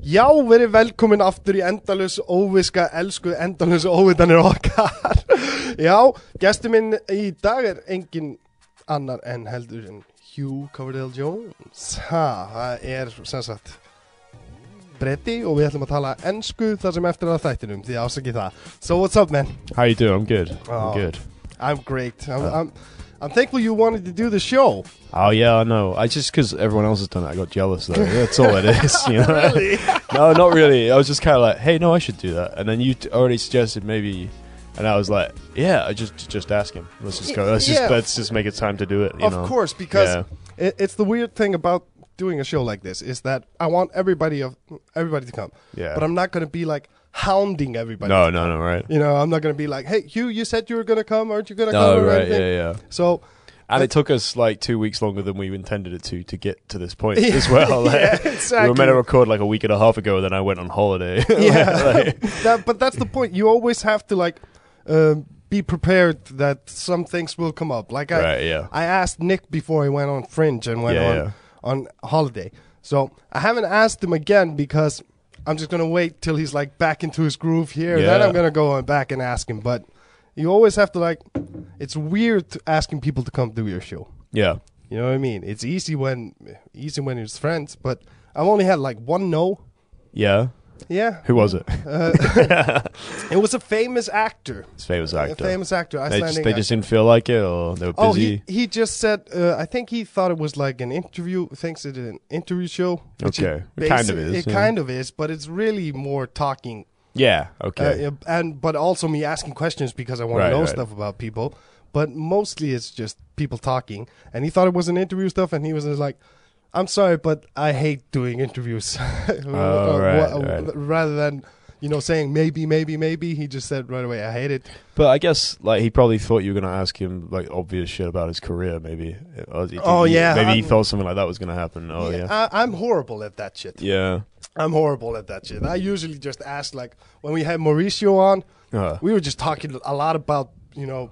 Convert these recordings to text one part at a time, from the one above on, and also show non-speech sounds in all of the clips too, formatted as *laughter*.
Já, verið velkomin aftur í endalus óviska, elsku endalus óvitanir okkar. *laughs* Já, gestur minn í dag er engin annar en heldur en Hugh Coverdale Jones. Ha, það er sem sagt bretti og við ætlum að tala ensku þar sem eftir er að þættinum, því ásaki það. So what's up man? How you doing? I'm good. Oh. I'm good. I'm great. I'm, I'm, I'm thankful you wanted to do the show. Oh yeah, I know. I just because everyone else has done it, I got jealous though. That's all *laughs* it is. You know? *laughs* no, not really. I was just kind of like, hey, no, I should do that. And then you t- already suggested maybe, and I was like, yeah, I just just ask him. Let's just go. Let's Yeah. just let's just make it time to do it. You of know? course because Yeah. it, it's the weird thing about doing a show like this is that i want everybody of everybody to come Yeah. but i'm not going to be like hounding everybody No, no, no, right? you know i'm not going to be like hey hugh you said you were going to come aren't you going to No, come or Oh, right? Yeah, anything?" yeah. so And it took us like two weeks longer than we intended it to to get to this point as well. *laughs* Like, yeah, We were meant exactly to record like a week and a half ago, then I went on holiday. *laughs* yeah *laughs* that, but that's the point you always have to like um, be prepared that some things will come up like i right? Yeah. I asked Nick before he went on Fringe and went Yeah, on yeah. on holiday. So I haven't asked him again because I'm just gonna wait till he's like back into his groove here. Then Yeah. I'm gonna go on back and ask him. But you always have to like. It's weird to asking people to come do your show. Yeah. You know what I mean? It's easy when easy when it's friends, but I've only had like one no. Yeah. Yeah, Who was it? *laughs* it was a famous actor. It's famous A actor. famous actor, They Icelandic. just, they actor. just didn't feel like it, or they were Oh, busy. he, he just said. Uh, I think he thought it was like an interview. Thinks it an interview show. which Okay. It kind basi- of is, It yeah. kind of is, but it's really more talking. yeah. uh, Okay. and but also me asking questions because I want Right, to know right. stuff about people. But mostly it's just people talking. And he thought it was an interview stuff, and he was just like. I'm sorry, but I hate doing interviews. *laughs* Uh, Oh, right, wha- right. Rather than, you know, saying maybe, maybe, maybe, he just said right away, I hate it. But I guess like he probably thought you were gonna ask him like obvious shit about his career, maybe. Or he- Oh, he- yeah, Maybe he I'm- thought something like that was gonna happen. Oh yeah. I, I'm horrible at that shit. Yeah. I'm horrible at that shit. I usually just ask like when we had Mauricio on, Uh, we were just talking a lot about you know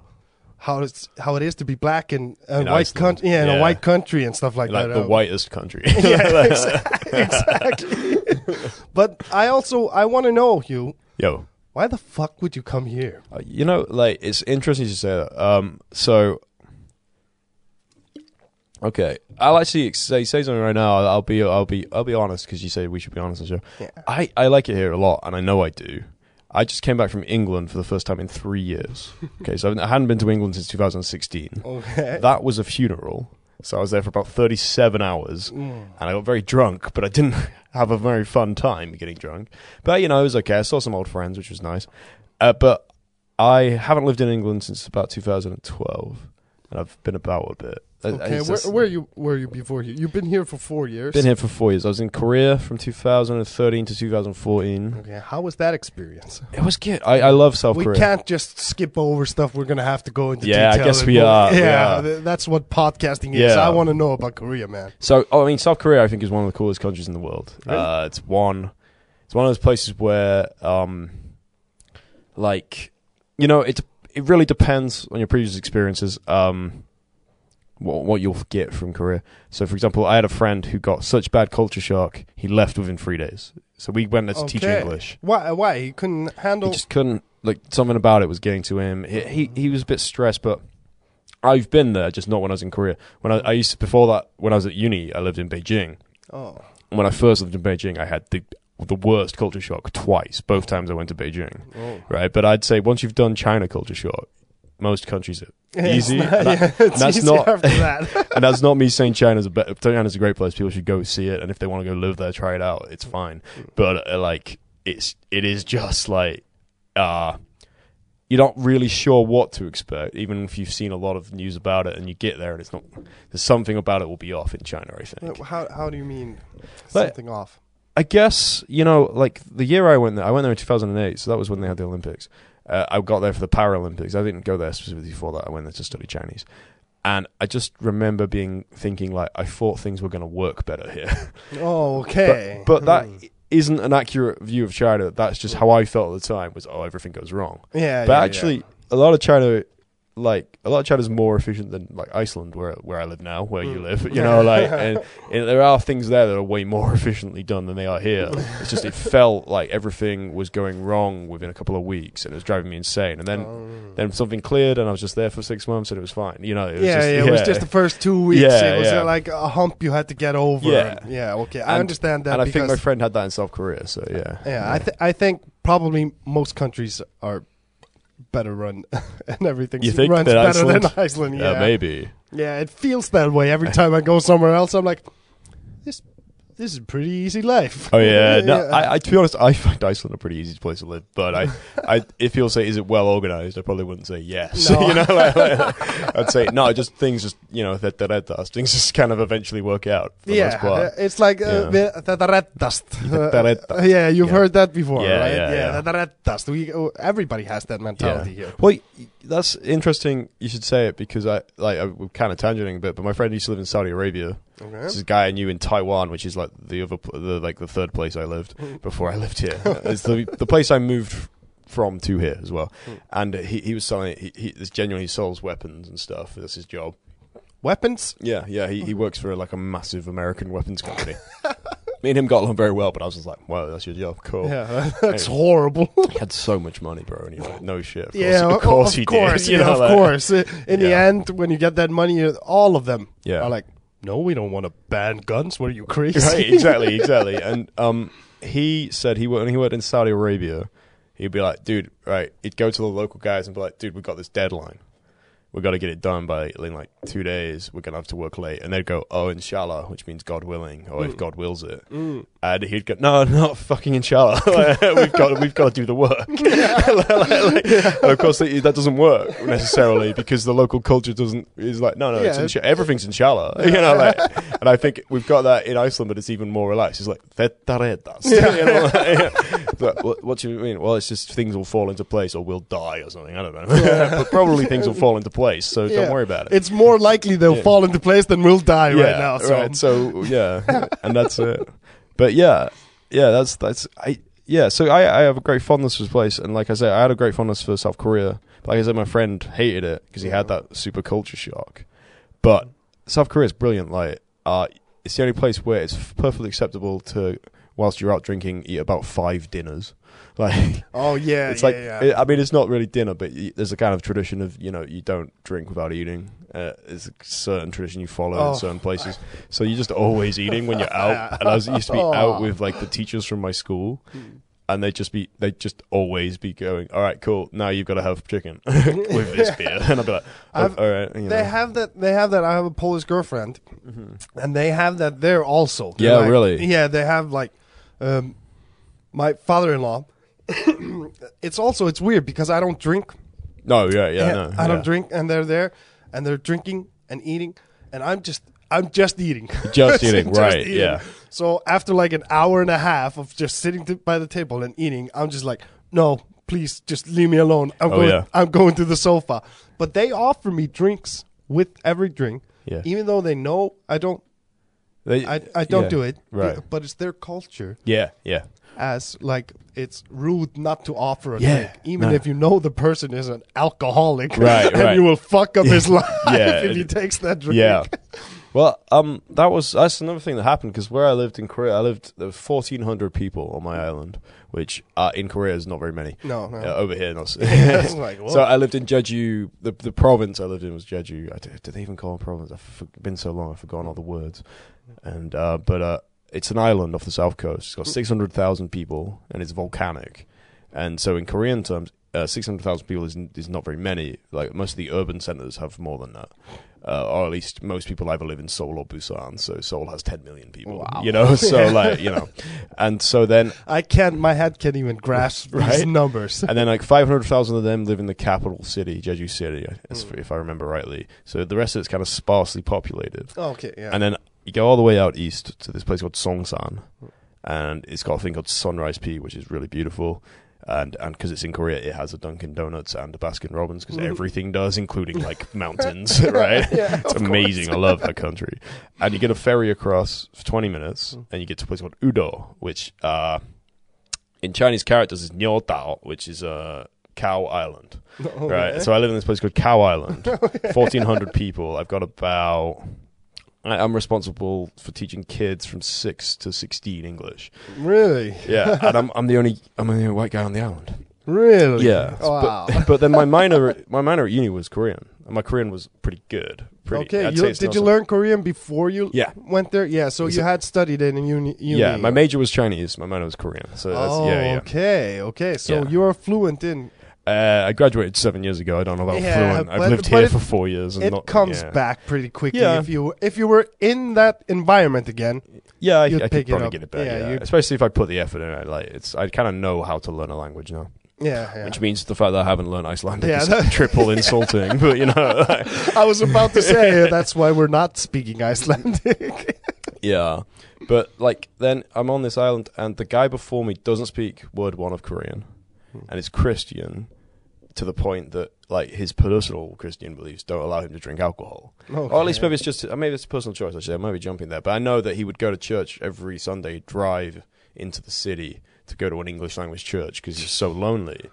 how it's how it is to be black and, and In white Iceland. country, yeah, in a Yeah. white country and stuff like, like that. the Uh, whitest *laughs* country. *laughs* yeah, exactly. *laughs* exactly. *laughs* but I also I want to know Hugh, Yo. why the fuck would you come here? Uh, You know, like it's interesting you say that. Um, so, okay, I'll actually ex- say say something right now. I'll, I'll be I'll be I'll be honest because you say we should be honest on the show. Yeah. I I like it here a lot, and I know I do. I just came back from England for the first time in three years. Okay, so I hadn't been to England since 2016. Okay. That was a funeral, so I was there for about 37 hours, Mm. and I got very drunk, but I didn't *laughs* have a very fun time getting drunk. But you know, it was okay. I saw some old friends, which was nice. Uh, but I haven't lived in England since about 2012, and I've been about a bit. *laughs* I- I- Okay, it's where, just- where you were you before here? You've been here for four years. been here for four years. I was in Korea from 2013 to 2014. Okay, how was that experience? It was good. I, I love South we Korea. can't just skip over stuff. We're gonna have to go into Yeah, I detail. guess and we go- are, we Yeah, are. th- that's what podcasting is. Yeah. I want to know about Korea, man. So, oh, I mean, South Korea, I think, is one of the coolest countries in the world. Really? Uh, it's one, it's one of those places where, um, like, you know, it it really depends on your previous experiences, um, what what you'll get from Korea. So, for example, I had a friend who got such bad culture shock, he left within three days. So we went there to teach Okay. English. Why? Why he couldn't handle? He just couldn't like something about it was getting to him. He he, he was a bit stressed, but I've been there, just not when I was in Korea. When I, I used to, before that, when I was at uni, I lived in Beijing oh, when I first lived in Beijing, I had the the worst culture shock twice. Both times I went to Beijing, oh. right? But I'd say once you've done China culture shock, most countries are easy. It's not- and, that- yeah, it's that's easy not- after *laughs* that. and that's not me saying China's a be- China's a great place. People should go see it, and if they want to go live there, try it out. It's fine. But uh, like, it's it is just like, uh you're not really sure what to expect, even if you've seen a lot of news about it, and you get there and it's not. There's something about it will be off in China, I think. how how do you mean But- something off? I guess you know, like the year I went there, I went there in 2008, so that was when they had the Olympics. Uh, I got there for the Paralympics. I didn't go there specifically for that. I went there to study Chinese, and I just remember being thinking like I thought things were going to work better here, *laughs* Oh, okay. but that Hmm. isn't an accurate view of China. That's just how I felt at the time. Was oh everything goes wrong, yeah, but yeah, actually a lot of China. like a lot of China's more efficient than like Iceland, where where I live now, where you Mm. live. *laughs* You know, like *laughs* and, and there are things there that are way more *laughs* efficiently done than they are here. It's just it felt like everything was going wrong within a couple of weeks, and it was driving me insane. And then Um, then something cleared, and I was just there for six months, and it was fine. You know, it was yeah, just, yeah, it was just the first two weeks. Yeah, it was uh, yeah. like a hump you had to get over. Yeah. and- yeah. Okay, I And- understand that. and I because, think my friend had that in South Korea. So yeah, yeah, I th- I think probably most countries are better run *laughs* and everything You think runs that better than Iceland- Iceland. Yeah, yeah, Uh, maybe. Yeah, it feels that way every time I go somewhere else. I'm like, this this is a pretty easy life. *laughs* Oh yeah, no. Yeah. I, I to be honest, I find Iceland a pretty easy place to live. But I, I if you'll say, is it well organized? I probably wouldn't say yes. *laughs* No. you know, like, like, I'd say no. Just things, just you know, that that that things just kind of eventually work out. For the yeah, most part. uh, it's like uh, Yeah. the, the red dust. *laughs* The- the red dust. *laughs* yeah, you've Yeah. heard that before, Yeah, right? yeah, yeah. the- the red dust. We, oh, everybody has that mentality here. Well, y- that's interesting. You should say it because I like I, we're kind of tangenting a bit. But my friend used to live in Saudi Arabia. This is a guy I knew in Taiwan, which is like the other, pl- the, like the third place I lived Hmm. before I lived here. it's the the place I moved f- from to here as well. Mm. And he he was selling he, he this genuinely sells weapons and stuff. That's his job. Weapons? Yeah, yeah. He he works for like a massive American weapons *laughs* company. Me and him got along very well, but I was just like, "Wow, that's your job, cool." Yeah, *laughs* that's horrible. He had so much money, bro, and he was like, "No shit, of course, yeah, of course he course, did." *laughs* you yeah, know, of like- course. Uh, In the Yeah. end, when you get that money, uh, all of them Yeah. are like, no, we don't want to ban guns. What are you crazy? *laughs* Right, exactly, exactly. And um, he said he wor- when he worked in Saudi Arabia, he'd be like, dude, right? He'd go to the local guys and be like, dude, we got this deadline. We got to get it done by in like two days. We're gonna have to work late, and they'd go, "Oh, inshallah," which means God willing, or if God wills it. And he'd go, "No, *laughs* not fucking inshallah. *laughs* we've got, we've got to do the work." *laughs* Like, like, and of course, that that doesn't work necessarily because the local culture doesn't is like, no, no, it's Yeah. insha- everything's inshallah. *laughs* You know, like, and I think we've got that in Iceland, but it's even more relaxed. It's like "Þettaretas." *laughs* You know, like, yeah. But what, what do you mean? Well, it's just things will fall into place, or we'll die, or something. I don't know, *laughs* but probably things will fall into place. So Yeah. don't worry about it. It's more likely they'll Yeah. fall into place than we'll die yeah, right now. So right, so yeah, and that's it. But yeah, yeah, that's that's I yeah. So I I have a great fondness for this place, and like I said, I had a great fondness for South Korea. But like I said, my friend hated it because he had that super culture shock. But South Korea is brilliant. Like, uh, it's the only place where it's perfectly acceptable to whilst you're out drinking eat about five dinners. Like Oh yeah, it's yeah, like yeah. I mean, it's not really dinner, but y there's a kind of tradition of you know you don't drink without eating. Uh, it's a certain tradition you follow Oh. in certain places, so you're just always eating when you're out. And I was, *laughs* used to be Oh. out with like the teachers from my school. Hmm. And they just be they just always be going. All right, cool. Now you've got to have *laughs* chicken *laughs* with this beer, *laughs* and I'll be like, oh, I've- all right. You know. Mm-hmm. they have that. They have that. I have a Polish girlfriend, and they have that there also. They're Yeah, like- really? Yeah, they have like um, my father-in-law. *coughs* it's also it's weird because I don't drink. no, yeah, yeah, Yeah, no, I yeah. don't drink, and they're there, and they're drinking and eating, and I'm just I'm just eating. *laughs* Just eating, right, yeah. So after like an hour and a half of just sitting t- by the table and eating, I'm just like, no, please just leave me alone. I'm Oh, going. yeah. I'm going to the sofa. But they offer me drinks with every drink, Yeah. even though they know I don't. They- I, I don't yeah, do it. Right. But it's their culture Yeah, yeah. as like it's rude not to offer a Yeah, drink, even no. if you know the person is an alcoholic, Right, *laughs* and right. you will fuck up his life *laughs* Yeah, if he it- takes that drink. Yeah. Well, um, that was that's another thing that happened because where I lived in Korea, I lived there was fourteen hundred people on my island, which uh, in Korea is not very many. No, no. Uh, over here, not so. *laughs* It's *laughs* like, so I lived in Jeju. The the province I lived in was Jeju. I d- did they even call it province? I've for- been so long, I've forgotten all the words. And uh, but uh, it's an island off the south coast. It's got six hundred thousand people, and it's volcanic. And so in Korean terms, uh, six hundred thousand people is n- is not very many. Like most of the urban centers have more than that. Uh, or at least most people either live in Seoul or Busan, so Seoul has 10 million people. Wow. You *laughs* know, *laughs* so like you know, and so then I can't. My head can't even grasp these *laughs* Right? numbers. and then like 500,000 of them live in the capital city, Jeju City, as- Hmm. if I remember rightly. So the rest of it's kind of sparsely populated. *laughs* Okay, yeah. *laughs* And then you go all the way out east to this place called Songsan, and it's got a thing called Sunrise P, which is really beautiful. And and because it's in Korea, it has a Dunkin' Donuts and a Baskin Robbins Mm-hmm. because everything does, including like *laughs* mountains, *laughs* right? it's amazing. I love that country. And you get a ferry across for 20 minutes, Mm. and you get to a place called Udo, which uh, in Chinese characters is Niao Dao, which is uh, Cow Island. Okay. Right. So I live in this place called Cow Island. Oh, 1,400 people. I've got about. I, I'm responsible for teaching kids from 6 to 16 English. *laughs* really, Yeah. and I'm, I'm, the only, I'm the only white guy on the island. really, Yeah. Wow. But, but then my minor my minor at uni was Korean. And my Korean was pretty good. Pretty, okay, I'd you, say it's did not you so- learn Korean before you Yeah. went there? Yeah, so Is you it- had studied it in uni. uni. Yeah, my major was Chinese. My minor was Korean. So that's, oh, yeah, yeah. okay, okay. So Yeah. you're fluent in Uh, I graduated seven years ago. I don't know about Yeah, fluent. I've but- lived but here it- for four years. And it not, comes yeah. back pretty quickly Yeah. if you if you were in that environment again. Yeah, I, You'd I pick it could probably up. get it back. Yeah, Yeah, you- especially if I put the effort in. I like it's. I kind of know how to learn a language now, Yeah, yeah. which means the fact that I haven't learned Icelandic Yeah, is that- *laughs* triple insulting. But you know, *laughs* like, *laughs* I was about to *laughs* say that's why we're not speaking Icelandic. *laughs* yeah. But like, then I'm on this island, and the guy before me doesn't speak word one of Korean, Hmm. and is Christian to the point that like his personal Christian beliefs don't allow him to drink alcohol. Or at least maybe it's just uh, maybe it's a personal choice. Actually, I might be jumping there, but I know that he would go to church every Sunday, drive into the city to go to an English language church because he's so lonely.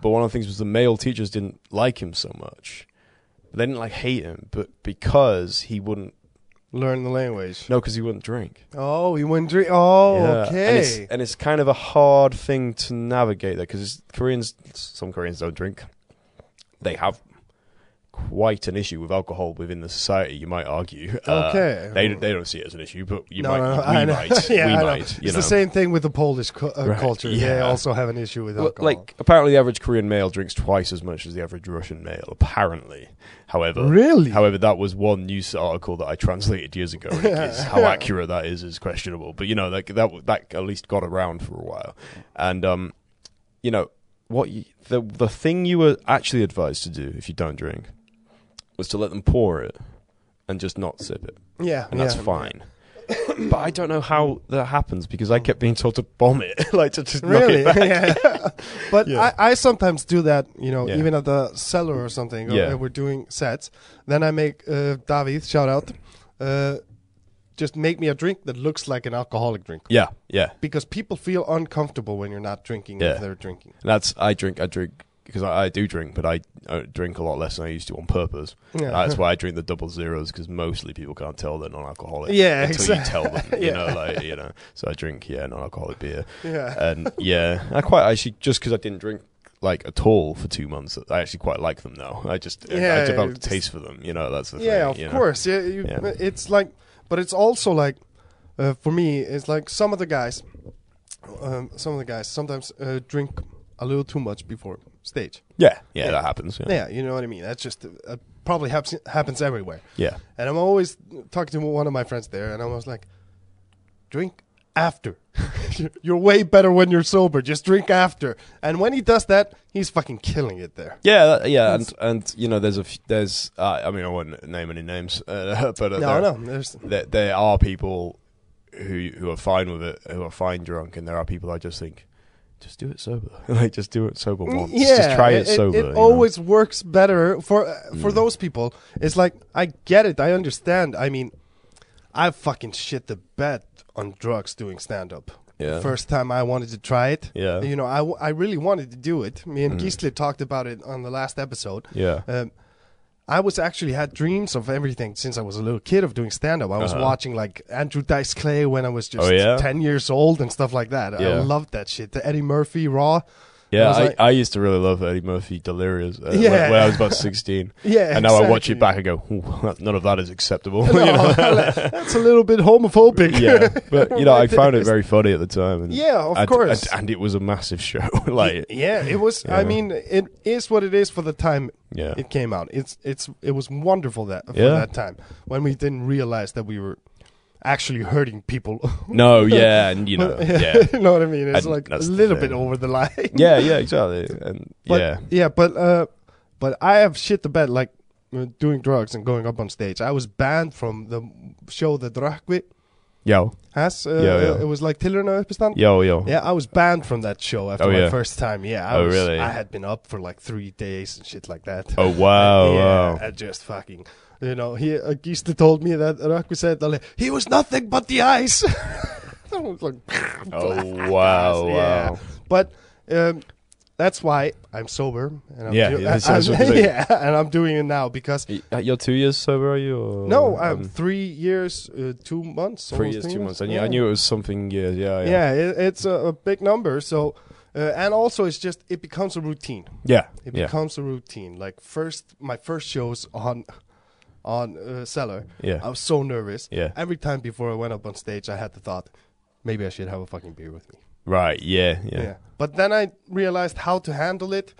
But one of the things was the male teachers didn't like him so much. They didn't like hate him, but because he wouldn't learn the language. no, because he wouldn't drink. Oh, you wouldn't drink. Oh, Yeah, okay. And it's, eh, and it's kind of a hard thing to navigate there because Koreans, some Koreans don't drink. They have quite an issue with alcohol within the society. You might argue. Uh, Okay. they they don't see it as an issue, but you No, might. no, no, we I know. *laughs* might. Yeah, we I know. might. You it's know. the same thing with the Polish cu- uh, Right, culture. They yeah. also have an issue with Well, alcohol. Like apparently, the average Korean male drinks twice as much as the average Russian male. Apparently, however, really? *laughs* However, that was one news article that I translated years ago. *laughs* And it is, how accurate that is is questionable, but you know that that that at least got around for a while. And um, you know what you, the the thing you were actually advised to do if you don't drink was to let them pour it and just not sip it, yeah, and that's yeah. fine. *coughs* but I don't know how that happens because I kept being told to bomb it, *laughs* like to just knock Really? it back. *laughs* yeah. But Yeah. I, I sometimes do that, you know, Yeah. even at the cellar or something. or- Yeah. uh, we're doing sets. Then I make uh, David shout out. Uh, just make me a drink that looks like an alcoholic drink Yeah, yeah. because people feel uncomfortable when you're not drinking Yeah. if they're drinking. And that's I drink. I drink because I, I do drink, but I, I drink a lot less than I used to on purpose. Yeah. That's *laughs* why I drink the double zeros because mostly people can't tell they're non-alcoholic. Yeah, until exact- you tell *laughs* them. yeah. You know, like you know. So I drink yeah non-alcoholic beer, Yeah. and yeah, I quite actually just because I didn't drink like at all for two months, I actually quite like them now. I just I, Yeah, I developed a it's- taste for them. You know, that's the yeah, thing. of you know. course. Yeah, you, Yeah. it's like, but it's also like, uh, for me, it's like some of the guys, um, some of the guys sometimes uh, drink a little too much before stage. Yeah, yeah, Yeah. that happens. Yeah, Yeah, you know what I mean. That's just uh, probably happens happens everywhere. yeah. And I'm always talking to one of my friends there, and I was like, drink after. *laughs* you're way better when you're sober. Just drink after. And when he does that, he's fucking killing it there. Yeah, that- yeah, and and you know, there's a f- there's uh, I mean, I won't name any names, *laughs* uh, but uh, No, there- no, there's there, there are people who who are fine with it, who are fine drunk, and there are people I just think, just do it sober, *laughs* like just do it sober once, just try it, sober. Mm, It, you know? Mm. always works better for uh, for those people. It's like I get it, I understand. I mean, I fucking shit the bed on drugs doing stand up. Yeah. First time I wanted to try it. Yeah. Mm. You know, I, w- I really wanted to do it. Me and Gisle talked about it on the last episode. yeah, Um, I was actually had dreams of everything since I was a little kid of doing stand up. I was Uh-huh. watching like Andrew Dice Clay when I was just Oh, yeah? 10 years old and stuff like that. I Yeah. loved that shit. The Eddie Murphy Raw. yeah. was I, like- I used to really love Eddie Murphy Delirious uh, Yeah. when, when I was about sixteen, *laughs* Yeah. and now I watch exactly. it back and go, "Ooh, *laughs* that- none of that is *laughs* acceptable. *laughs* No, you know? that's a little bit homophobic. yeah, but you know, I *laughs* Right, found it it's- very funny at the time. And Yeah, of I d- course. and- and it was a massive show. *laughs* like, yeah, it was. I Yeah. mean, it is what it is for the time yeah, it came out. It's it's it was wonderful that for Yeah. that time when we didn't realize that we were actually hurting people. no, yeah, and you know, *laughs* yeah, you know what I mean. It's And like a that's the little bit thing. over the line. yeah, yeah, exactly, and *laughs* But, yeah. but uh, but I have shit the bed like uh, doing drugs and going up on stage. I was banned from the show that Drakvi Yo, has. Uh, Yeah, yeah. It was like Tillerna Epistan. yo, yo. Yeah, I was banned from that show after Oh, my yeah. first time. Yeah, I Oh, was, really? I had been up for like three days and shit like that. Oh wow, yeah, *laughs* wow. I just fucking. You know, he uh, Gisle told me that Raku said like, he was nothing but the ice. *laughs* I was like, Oh wow, yeah. wow. But um, that's why I'm sober. And I'm Yeah, do- yeah, that's- I- *laughs* that's what I'm- I'm saying. yeah, and I'm doing it now because Y- You're two years sober, are you? Or, no, I'm um, three years, uh, two months, three almost years, two months. And yeah, I knew it was something years. Yeah, yeah, Yeah, it, it's a, a big number. So, uh, and also it's just it becomes a routine. yeah, It yeah, becomes a routine. Like first, my first shows on on uh, Cellar, yeah. I was so nervous. Yeah. Every time before I went up on stage, I had the thought, maybe I should have a fucking beer with me. Right. Yeah. Yeah. Yeah. But then I realized how to handle it,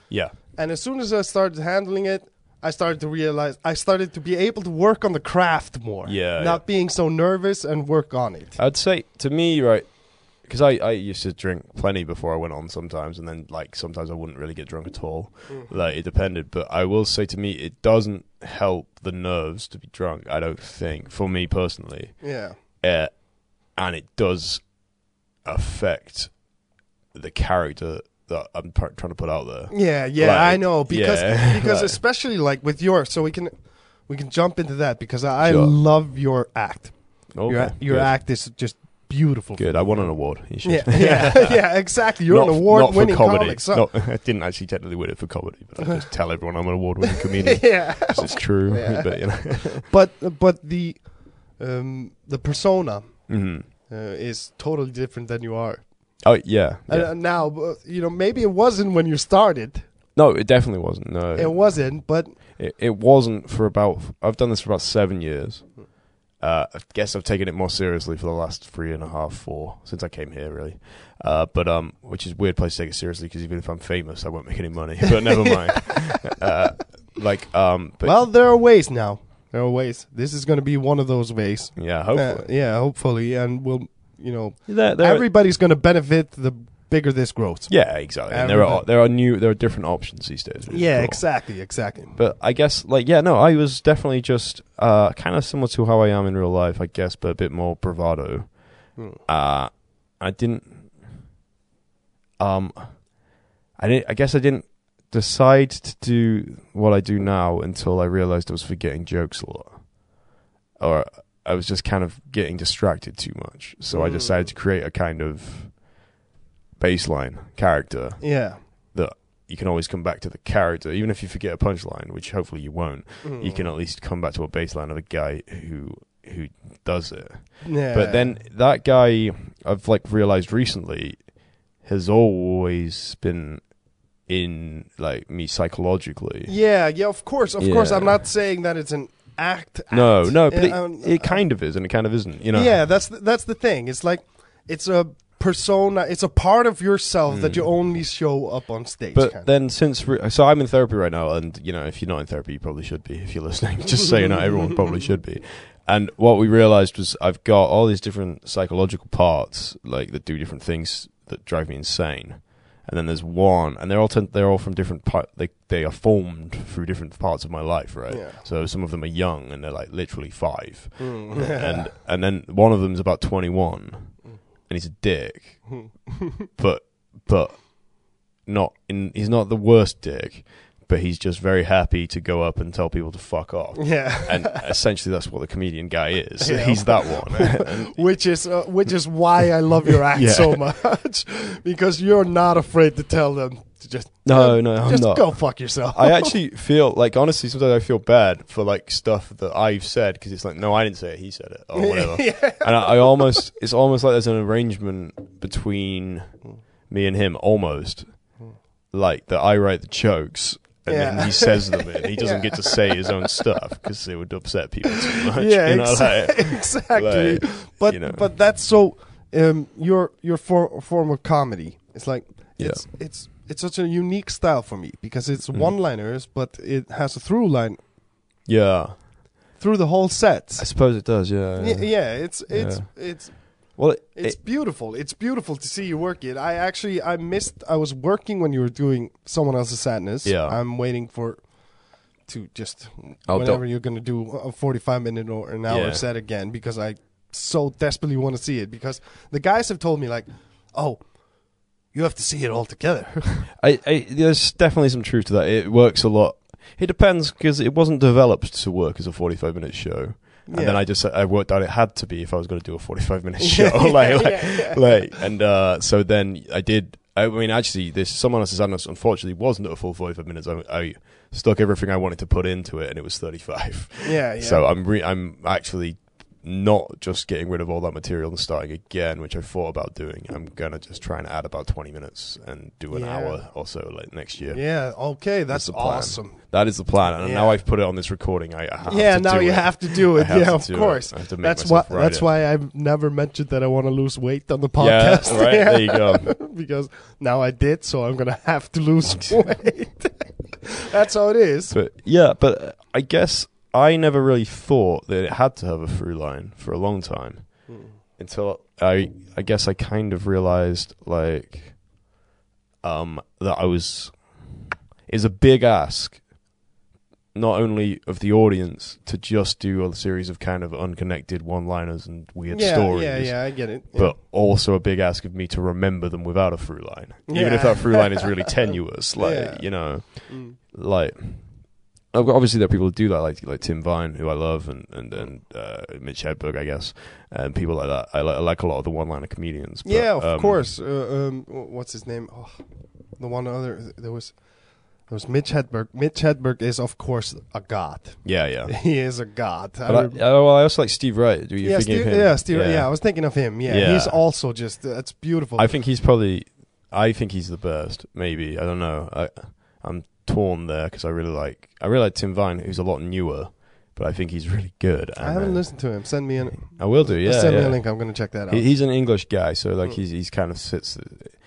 and as soon as I started handling it. I started to realize I started to be able to work on the craft more. Yeah, Not being so nervous and work on it. I'd say to me, right, because I, I used to drink plenty before I went on sometimes, and then like sometimes I wouldn't really get drunk at all. Mm. Like it depended, but I will say to me, it doesn't help the nerves to be drunk. I don't think for me personally, Yeah. uh, and it does affect the character that I'm pr- trying to put out there. Yeah, yeah, Like, I know *laughs* because yeah, because like- especially like with your so we can we can jump into that because I, I Sure. love your act. Okay, your your good. act is just beautiful. Good. I won an award. You should. *laughs* Yeah, *laughs* yeah, yeah, exactly. You're Not an f- award-winning not for comedy. comic. So, Not- *laughs* I didn't actually technically win it for comedy, but I just tell everyone I'm an award-winning *laughs* comedian. yeah, 'cause it's true, Yeah. but you know. *laughs* but but the um the persona Mhm. uh, is totally different than you are. Oh yeah, And, yeah. uh, now uh, you know maybe it wasn't when you started. no, it definitely wasn't. No, It wasn't, but It, it wasn't for about. I've done this for about seven years. Uh, I guess I've taken it more seriously for the last three and a half, four since I came here, really. Uh, but um, which is a weird place to take it seriously because even if I'm famous, I won't make any money. But *laughs* never mind. uh, like um, but well, there are ways now. There are ways. This is going to be one of those ways. yeah, Uh, hopefully yeah, hopefully, and we'll you know there, everybody's going to benefit the bigger this grows. yeah, exactly. And there are Everybody- there are new there are different options these days. which is cool. exactly, exactly. But I guess, like, yeah, no, I was definitely just uh, kind of similar to how I am in real life, I guess, but a bit more bravado. Hmm. Uh, I didn't, um, I didn't. I guess I didn't decide to do what I do now until I realized I was forgetting jokes a lot, or I was just kind of getting distracted too much. So I Hmm. decided to create a kind of baseline character yeah, that you can always come back to the character, even if you forget a punchline, which hopefully you won't. Hmm. You can at least come back to a baseline of a guy who who does it. Yeah. But then that guy I've like realized recently has always been in like me psychologically. yeah, yeah. Of course, of course. I'm Yeah. not saying that it's an act. No, act. no, but Yeah, um, it, it kind of is and it kind of isn't, you know. yeah, that's the, that's the thing. It's like it's a persona. It's a part of yourself that you only show up on stage. Hmm. But kind then since re- so I'm in therapy right now, and you know if you're not in therapy, you probably should be. If you're listening, *laughs* just so you know, everyone probably should be. And what we realized was I've got all these different psychological parts, like that do different things that drive me insane. And then there's one, and they're all ten- they're all from different part. They they are formed through different parts of my life, right? Yeah. So some of them are young, and they're like literally five, of. Mm. *laughs* and and then one of them's about twenty one, and he's a dick *laughs* but but not in he's not the worst dick but he's just very happy to go up and tell people to fuck off *laughs* yeah. *laughs* and essentially that's what the comedian guy is Yeah. he's that one And- Which is uh, which is why I love your act *laughs* Yeah. so much *laughs* because you're not afraid to tell them to just *laughs* uh, no no i'm just not go fuck yourself. i actually feel like honestly sometimes i feel bad for like stuff that i've said because it's like no i didn't say it he said it *laughs* or whatever yeah. and I, I almost it's almost like there's an arrangement between me and him almost like that I write the jokes and then Yeah. he says them and he doesn't Yeah. get to say his own stuff because it would upset people too much. yeah, you know, exa- *laughs* like- exactly. like, but you know. but that's so um, your your for, form of comedy. It's like Yeah. Mm-hmm. it's it's it's such a unique style for me because it's one-liners, but it has a through line yeah, through the whole I set. suppose it does. Yeah, Yeah, yeah it's it's it's Well, it, it's it- beautiful. It's beautiful to see you work it. I actually I missed. I was working when you were doing someone else's sadness. Yeah. I'm waiting for to just I'll do- whenever you're gonna do a 45 minute or an hour Yeah. set again because I so desperately want to see it because the guys have told me like, oh, you have to see it all *laughs* together. I, I, there's definitely some truth to that. It works a lot. It depends because it wasn't developed to work as a 45 minute show. And Yeah. then I just I worked out it had *laughs* to be if I was going to do a 45 minute show. like, like, like, and uh, so then I did. I mean, actually, this someone else's analysis unfortunately wasn't a full forty-five minutes. I, I stuck everything I wanted to put into it, and it was thirty-five. Yeah, yeah. So I'm re- I'm actually not just getting rid of all that material and starting again, which I thought about doing. I'm gonna just try and add about twenty minutes and do an Yeah. hour or so like next year. yeah, okay, that's, the plan. awesome. That is the plan, and Yeah. now I've put it on this recording. I, I have Yeah, to now do you it. have to do *laughs* I it. have Yeah, to of do it. course. I have to make That's why. myself write That's it. why I've never mentioned that I want to lose weight on the podcast. *laughs* Yeah, right. There you go. because now I did, so I'm gonna have to lose *laughs* weight. *laughs* that's how it is. But yeah, but uh, I guess I never really thought that it had to have a through line for a long time until I I guess I kind of realized like um that I was is a big ask not only of the audience to just do a series of kind of unconnected one-liners and weird yeah, stories. yeah, yeah. I get it. Yeah. But also a big ask of me to remember them without a through line, even if Yeah. that through line *laughs* is really tenuous. Like Yeah. you know, Mm. like ob- obviously there are people who do that, like like Tim Vine, who I love, and and and uh, Mitch Hedberg, I guess, and people like that. I, li- I like a lot of the one-liner comedians. but, yeah, of um, course. Uh, um, wh- what's his name? Oh, the one other there was there was Mitch Hedberg. Mitch Hedberg is of course a god. Yeah, yeah. *laughs* He is a god. I But I, rem- oh, well, I also like Steve Wright. Do you yeah, think Steve, of him? yeah, Steve. Yeah. I was thinking of him. Yeah, Yeah. he's also just that's beautiful. I think he's probably. I think he's the best. Maybe I don't know. I I'm torn there because I really like I really like Tim Vine, who's a lot newer, but I think he's really good. I and, haven't uh, listened to him. Send me an. I will do. Yeah, send me yeah. a link. I'm gonna check that out. He, he's an English guy, so like Mm. he's he's kind of sits.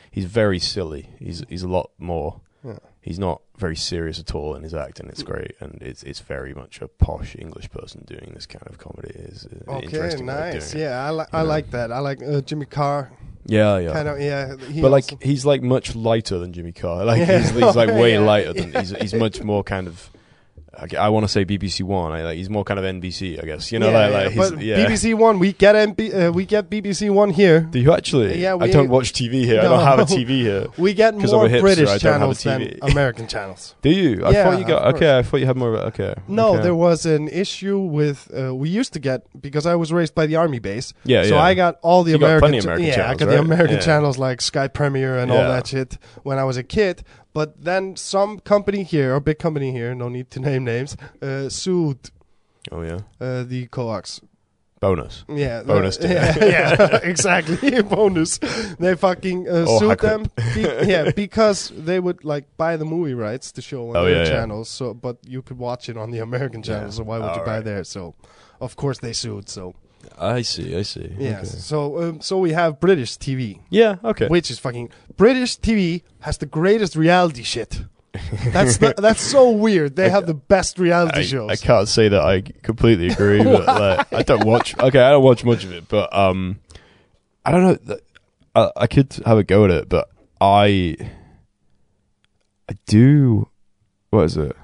He's very silly. He's he's a lot more. Yeah. Mm. He's not very serious at all in his acting. It's great, and it's it's very much a posh English person doing this kind of comedy. Is uh, okay, interesting way of nice. doing it. Yeah, I, li- you I know. like that. I like uh, Jimmy Carr. yeah, yeah. Kind of. Yeah. he but also- like he's like much lighter than Jimmy Carr. Like Yeah. he's, he's *laughs* like way Yeah. lighter than he's he's much more kind of. I, want to say BBC One. I, like, he's more kind of NBC, I guess. You know, Yeah, like, like yeah, he's, but yeah. BBC One, we get MB, uh, we get BBC One here. Do you actually? Yeah, I we- don't watch TV here. I No. don't have a TV here. We get 'Cause I'm more a hipster, I British don't have a channels than *laughs* TV. American channels. Do you? I Yeah, thought you got of okay. I thought you had more. Okay. No, okay. there was an issue with uh, we used to get because I was raised by the army base. Yeah, so yeah. I got all the You got American, plenty of cha- American yeah, I channels, got right? the American Yeah. channels like Sky Premiere and all Yeah. that shit when I was a kid. But then some company here, or big company here, no need to name names, uh, sued Oh yeah. uh, the coax Bonus. Yeah, Bonus uh, to yeah, *laughs* *laughs* yeah, exactly. *laughs* Bonus. They fucking uh, Oh, sued hacker. them. Be- yeah, because they would like buy the movie rights to show on Oh, their yeah, yeah. channels. So, but you could watch it on the American channel. So why would you buy Alright. there? So, of course they sued. So I see. I see. yeah. Okay. So um, so we have British TV, Yeah. Okay. which is fucking British TV has the greatest reality shit. That's the, that's so weird. *laughs* They have the best reality I, shows. I can't say that I completely agree, *laughs* but like, I don't watch. Okay, I don't watch much of it, but um, I don't know. th- I, I could have a go at it, but I, I do. What is it?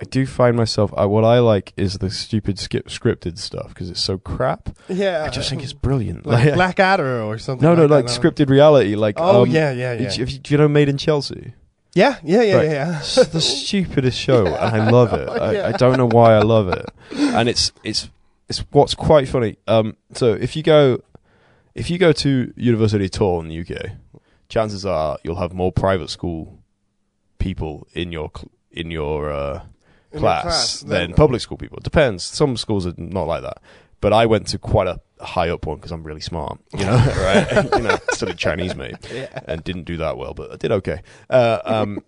I do find myself. I, what I like is the stupid skip scripted stuff because it's so crap. yeah, I just think it's brilliant. like *laughs* Like, Blackadder or something. no, no, like, like that. scripted reality. Like Oh um, yeah, yeah, yeah. If you- if you- do you know Made *laughs* in Chelsea? Yeah, yeah, yeah, Right. yeah. It's the stupidest show, and I *laughs* love it. I, yeah. I don't know why I love it, and it's it's it's what's quite funny. Um, so if you go if you go to university at all in the UK, chances are you'll have more private school people in your cl- in your uh, In your class, class, than then- public school people. It depends. Some schools are not like that. But I went to quite a high up one because I'm really smart, you know, right? *laughs* you know, studied Chinese, mate, and didn't do that well, but I did okay. Uh, um,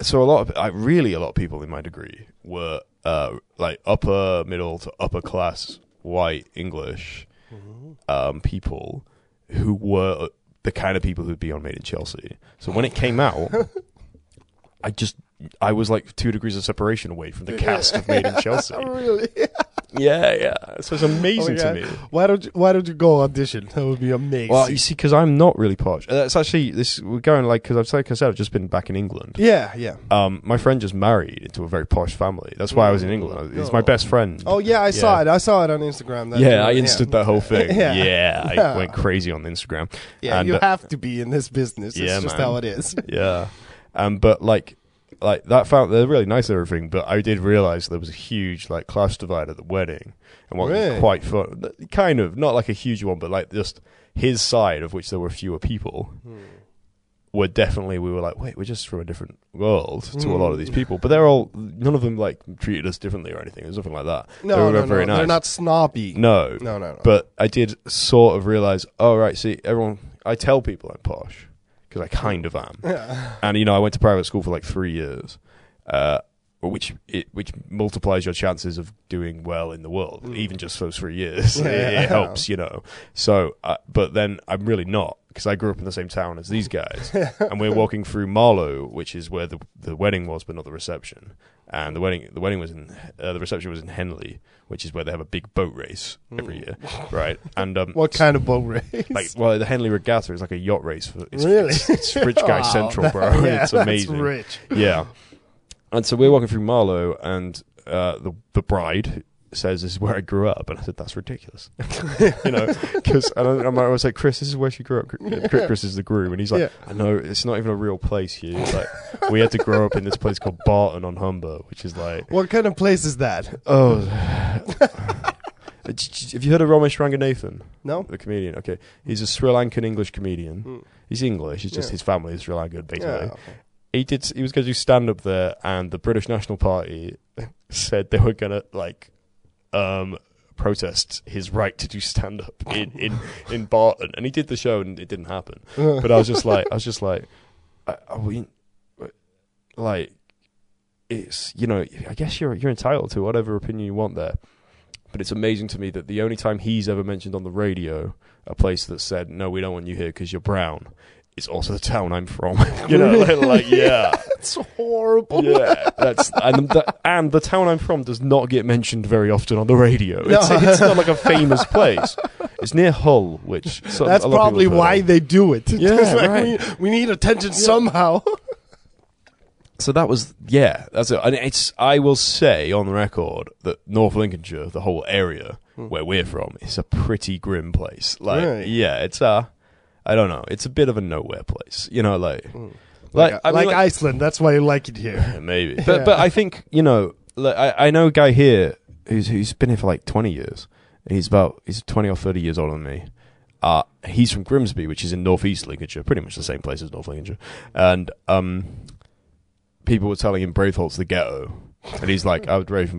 so a lot of, I really a lot of people in my degree were uh, like upper middle to upper class white English um, people who were the kind of people who'd be on Made in Chelsea. So when it came out, I just I was like two degrees of separation away from the cast of Made in *laughs* Chelsea. *laughs* really? Yeah, yeah. So it's amazing Oh, to me. Why don't you, Why don't you go audition? That would be amazing. Well, you see, because I'm not really posh. Uh, That's actually this. We're going like because I've like I said, I've just been back in England. yeah, yeah. Um, my friend just married into a very posh family. That's why I was in England. He's my best friend. Mm. Oh yeah, I saw it. I saw it on Instagram. That yeah, I instant that whole *laughs* thing. Yeah. yeah. I Yeah. went crazy on Instagram. Yeah, And, you uh, have to be in this business. It's Yeah, just man. how it is. yeah. Um, but like, like that found they're really nice and everything. But I did realize there was a huge like class divide at the wedding, and what Really? was quite fun, kind Hmm. of not like a huge one, but like just his side of which there were fewer people. were definitely we were like, wait, we're just from a different world to a lot of these people, but they're all none of them like treated us differently or anything. It was nothing like that. *laughs* they No, were no, no. very nice. They're not snobby. no, no, no. no. but I did sort of realize, oh right, see, everyone. I tell people I'm posh because I kind of am, yeah. *sighs* and you know, I went to private school for like three years, uh, which it, which multiplies your chances of doing well in the world, Mm. even just those three years. It- *laughs* It, Yeah. helps, you know. So, uh, but then I'm really not because I grew up in the same town as *laughs* these guys, and we're walking through Marlow, which is where the the wedding was, but not the reception. And the wedding, the wedding was in, uh, the reception was in Henley, which is where they have a big boat race every Mm. year, right? And *laughs* um, *laughs* What kind of boat race? like well, the Henley Regatta is like a yacht race. For, it's, Really? It's, *laughs* it's *laughs* rich guy Wow, central, bro. Oh, *laughs* yeah, *laughs* it's amazing. That's rich. Yeah. And so we're walking through Marlow, and uh, the the bride says, "This is where I grew up," and I said, "That's ridiculous," *laughs* you know, because I don't. I'm always like, "Chris, this is where she grew up." Chris, Chris is the groom, and he's like, Yeah. "I know it's not even a real place here. Like, we had to grow up in this place called Barton on Humber, which is *laughs* like, What kind of place is that? oh." *laughs* uh, Have you heard of Ramesh Ranganathan? No. The comedian. Okay, he's a Sri Lankan English comedian. Mm. He's English. It's just Yeah. his family is Sri Lankan, basically Yeah. he did he was going to do stand up there and the british national party *laughs* said they were going to like um protest his right to do stand up in in in barton and he did the show and it didn't happen but uh, i was just like i was just like I, I mean, like it's you know i guess you're you're entitled to whatever opinion you want there but it's amazing to me that the only time he's ever mentioned on the radio a place that said no we don't want you here because you're brown is also the town i'm from *laughs* you know like, *laughs* like yeah *laughs* That's horrible. yeah, that's and the, and the town I'm from does not get mentioned very often on the radio. No. It's, it's not like a famous place. It's near Hull, *laughs* which so- That's a lot of probably people have why heard of. they do it. *laughs* Yeah, It's like, right. we, we need attention somehow. So that was yeah, that's it. And it's I will say on the record that North Lincolnshire, the whole area where we're from, is a pretty grim place. Like Right. yeah, it's uh I don't know, it's a bit of a nowhere place. You know, like Like, *laughs* like, I mean, like like- Iceland. That's why you like it here. *laughs* Yeah, maybe. But Yeah. but I think you know, like, I I know a guy here who's who's been here for like twenty years. He's about he's twenty or thirty years older than me. Uh, he's from Grimsby, which is in northeast Lincolnshire, pretty much the same place as North Lincolnshire. And um, people were telling him Braitholt's the ghetto, and he's like, I would raise,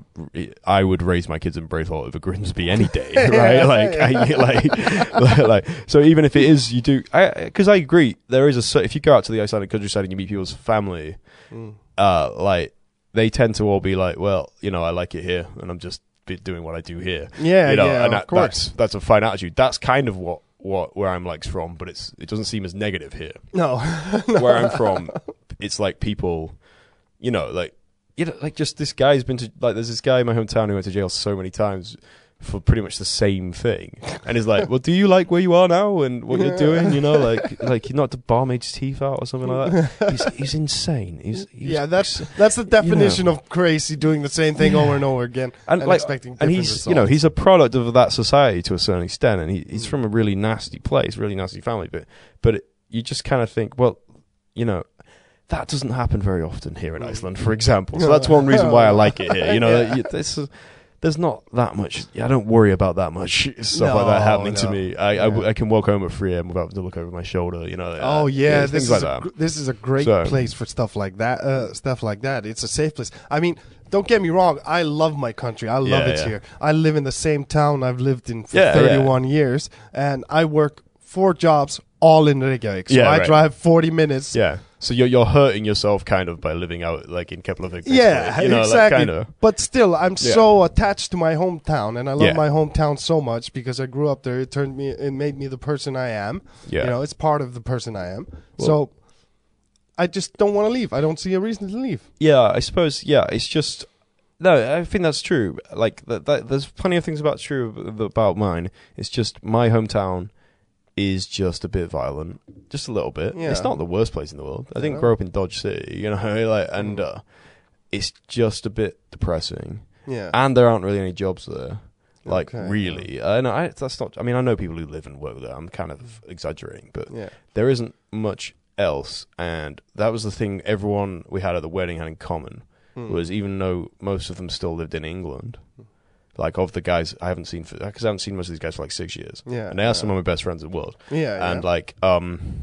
I would raise my kids in Braithwaite over Grimsby any day, right? like, I, like, like, *laughs* like, so even if it is, you do, because I, agree, there is a, cer- if you go out to the Icelandic countryside and you meet people's family, Mm. uh, like, they tend to all be like, well, you know, I like it here, and I'm just be- doing what I do here. Yeah, you know, yeah, and of that- course. That's, that's a fine attitude. That's kind of what, what, where I'm like's from, but it's, it doesn't seem as negative here *laughs* No. where I'm from, it's like people, you know, like you know, like just this guy's been to like there's this guy in my hometown who went to jail so many times for pretty much the same thing, and he's like, "Well, do you like where you are now and what you're doing? You *laughs* know, like like you knocked a barmaid's teeth out or something like that. He's, he's insane. He's, he's yeah, that's *laughs* that's the definition of crazy doing the same thing over and over again and, like, expecting different and he's you know results. Hmm. he's a product of that society to a certain extent, and he, he's from a really nasty place, really nasty family. But but it, you just kind of think, well, you know, that doesn't happen very often here in Iceland, for example. So that's one reason why I like it here. You *laughs* know, Yeah. you- this is- there's not that much. I don't worry about that much stuff like that No, happening to no. me. I, I w- Yeah. I can walk home at 3 a.m. without having to look over my shoulder. You know. Oh yeah, things this like is a, that. gr- this is a great So- place for stuff like that. Uh, stuff like that. It's a safe place. I mean, don't get me wrong. I love my country. I love Yeah, it yeah. here. I live in the same town I've lived in for Yeah, yeah. 31 years, and I work four jobs all in Reykjavik. So Yeah, I right. drive 40 minutes. yeah. So you're you're hurting yourself kind of by living out like in Keflavik. basically. Yeah, you know, like, exactly. kind of. But still, I'm Yeah. so attached to my hometown, and I love Yeah. my hometown so much because I grew up there. It turned me, it made me the person I am. Yeah. you know, it's part of the person I am. so, I just don't want to leave. I don't see a reason to leave. Yeah, I suppose. Yeah, it's just no. I think that's true. Like that, that there's plenty of things about true about mine. It's just my hometown is just a bit violent, just a little bit. Yeah. It's not the worst place in the world. I Yeah. didn't grow up in Dodge City, you know, *laughs* like and Mm. uh, it's just a bit depressing. Yeah, And there aren't really any jobs there. Like Okay. really, and I that's not. I mean, I know people who live and work there. I'm kind of exaggerating, but yeah, there isn't much else and that was the thing everyone we had at the wedding had in common Hmm. was even though most of them still lived in england like of the guys i haven't seen because i haven't seen most of these guys for like six years Yeah, and they are yeah. some of my best friends in the world yeah, and yeah. like um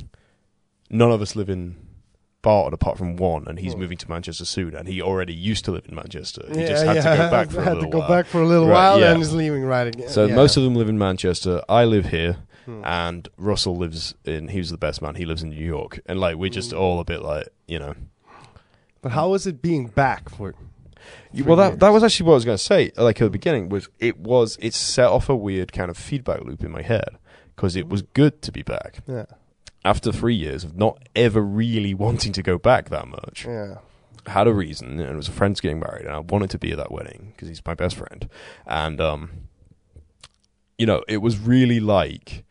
none of us live in Barton apart from one, and he's Hmm. moving to Manchester soon, and he already used to live in Manchester. He yeah, just had yeah. to *laughs* go back for a had little to go while. back for a little Right, while yeah. and is leaving right again. So yeah. most of them live in Manchester. I live here, Hmm. and Russell lives in. He was the best man. He lives in New York, and like we're just Hmm. all a bit like you know. But how is it being back for? Three You- well, that, that years. was actually what I was going to say. Like at the beginning, was it was it set off a weird kind of feedback loop in my head because it was good to be back Yeah, after three years of not ever really wanting to go back that much. *laughs* yeah. Had a reason, and it was a friend's getting married, and I wanted to be at that wedding because he's my best friend. And um, you know, it was really like,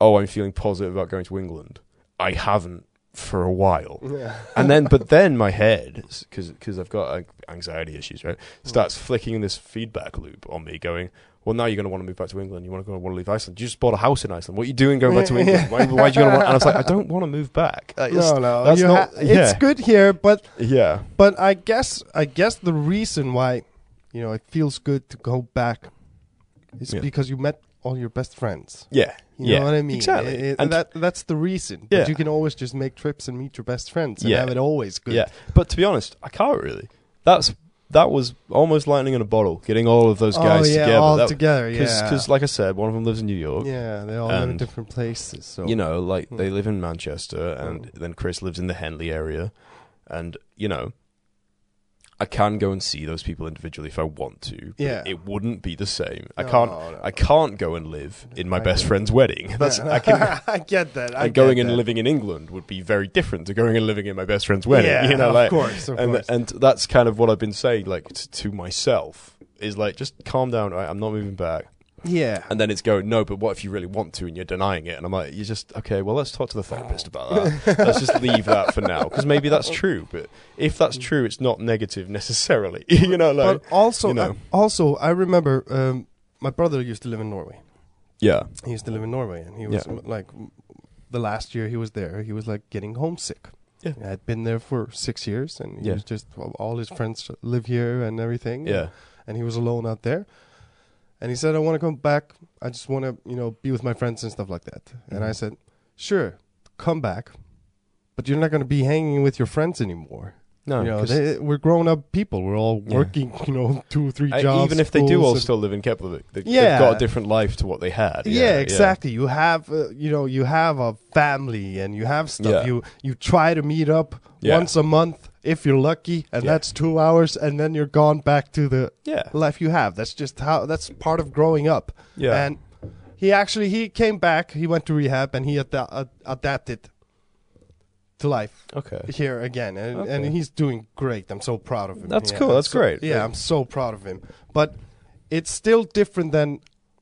oh, I'm feeling positive about going to England. I haven't for a while yeah. and then but then my head because because i've got like, anxiety issues right Hmm. starts flicking this feedback loop on me going well now you're going to want to move back to england you want to go want to leave iceland you just bought a house in iceland what are you doing going back to england why, why do you going to want and i was like i don't want to move back Like, it's- no, no. that's you not- ha- It's yeah. good here, but yeah but I guess I guess the reason why you know it feels good to go back is Yeah. because you met all your best friends. yeah You yeah know what I mean? exactly It- it- and that that's the reason. Yeah. But you can always just make trips and meet your best friends and Yeah. have it always good. yeah but to be honest i can't really that's that was almost lightning in a bottle getting all of those guys oh, yeah, together all That- together. yeah, because like i said one of them lives in new york yeah, they all live in and, different places. So you know, like Hmm. they live in Manchester, and then Chris lives in the Henley area, and you know, I can go and see those people individually if I want to. but Yeah. it wouldn't be the same. I No, can't. no. I can't go and live in my I best get friend's *laughs* wedding. *laughs* That's Yeah. I can. I get that. I And going get and that. living in England would be very different to going and living in my best friend's wedding. Yeah, *laughs* you know, of like, course, of and course. and that's kind of what I've been saying, like t- to myself, is like just calm down. Right, I'm not moving back. yeah, And then it's going, no, but what if you really want to and you're denying it? And I'm like, you just, okay, well, let's talk to the therapist about *laughs* that. let's just leave that for now. Because maybe that's true. But if that's true, it's not negative necessarily. *laughs* you know, like, but also, you know. I, also, I remember um, my brother used to live in Norway. yeah. He used to live in Norway, and he was Yeah. like, the last year he was there, he was like getting homesick. Yeah. I had been there for six years, and he Yeah. was just all his friends live here and everything. Yeah. and he was alone out there. And he said, "I want to come back. I just want to, you know, be with my friends and stuff like that." And I Mm-hmm. said, "Sure, come back, but you're not going to be hanging with your friends anymore." No. you know, 'cause they, we're grown up people. We're all Yeah. working, you know, two, three I- jobs. even if they do schools, all and- still live in Kepler, they, Yeah. have got a different life to what they had. yeah, exactly. You have, uh, you know, you have a family and you have stuff. Yeah. You you try to meet up Yeah. once a month if you're lucky, and Yeah. that's two hours, and then you're gone back to the Yeah. life you have. That's just how. That's part of growing up. Yeah. And he actually he came back. He went to rehab and he ada- ad- adapted to life Okay. here again, and, and Okay. he's doing great. I'm so proud of him. That's Yeah, cool. I'm That's so- great. Yeah, I'm so proud of him. But it's still different than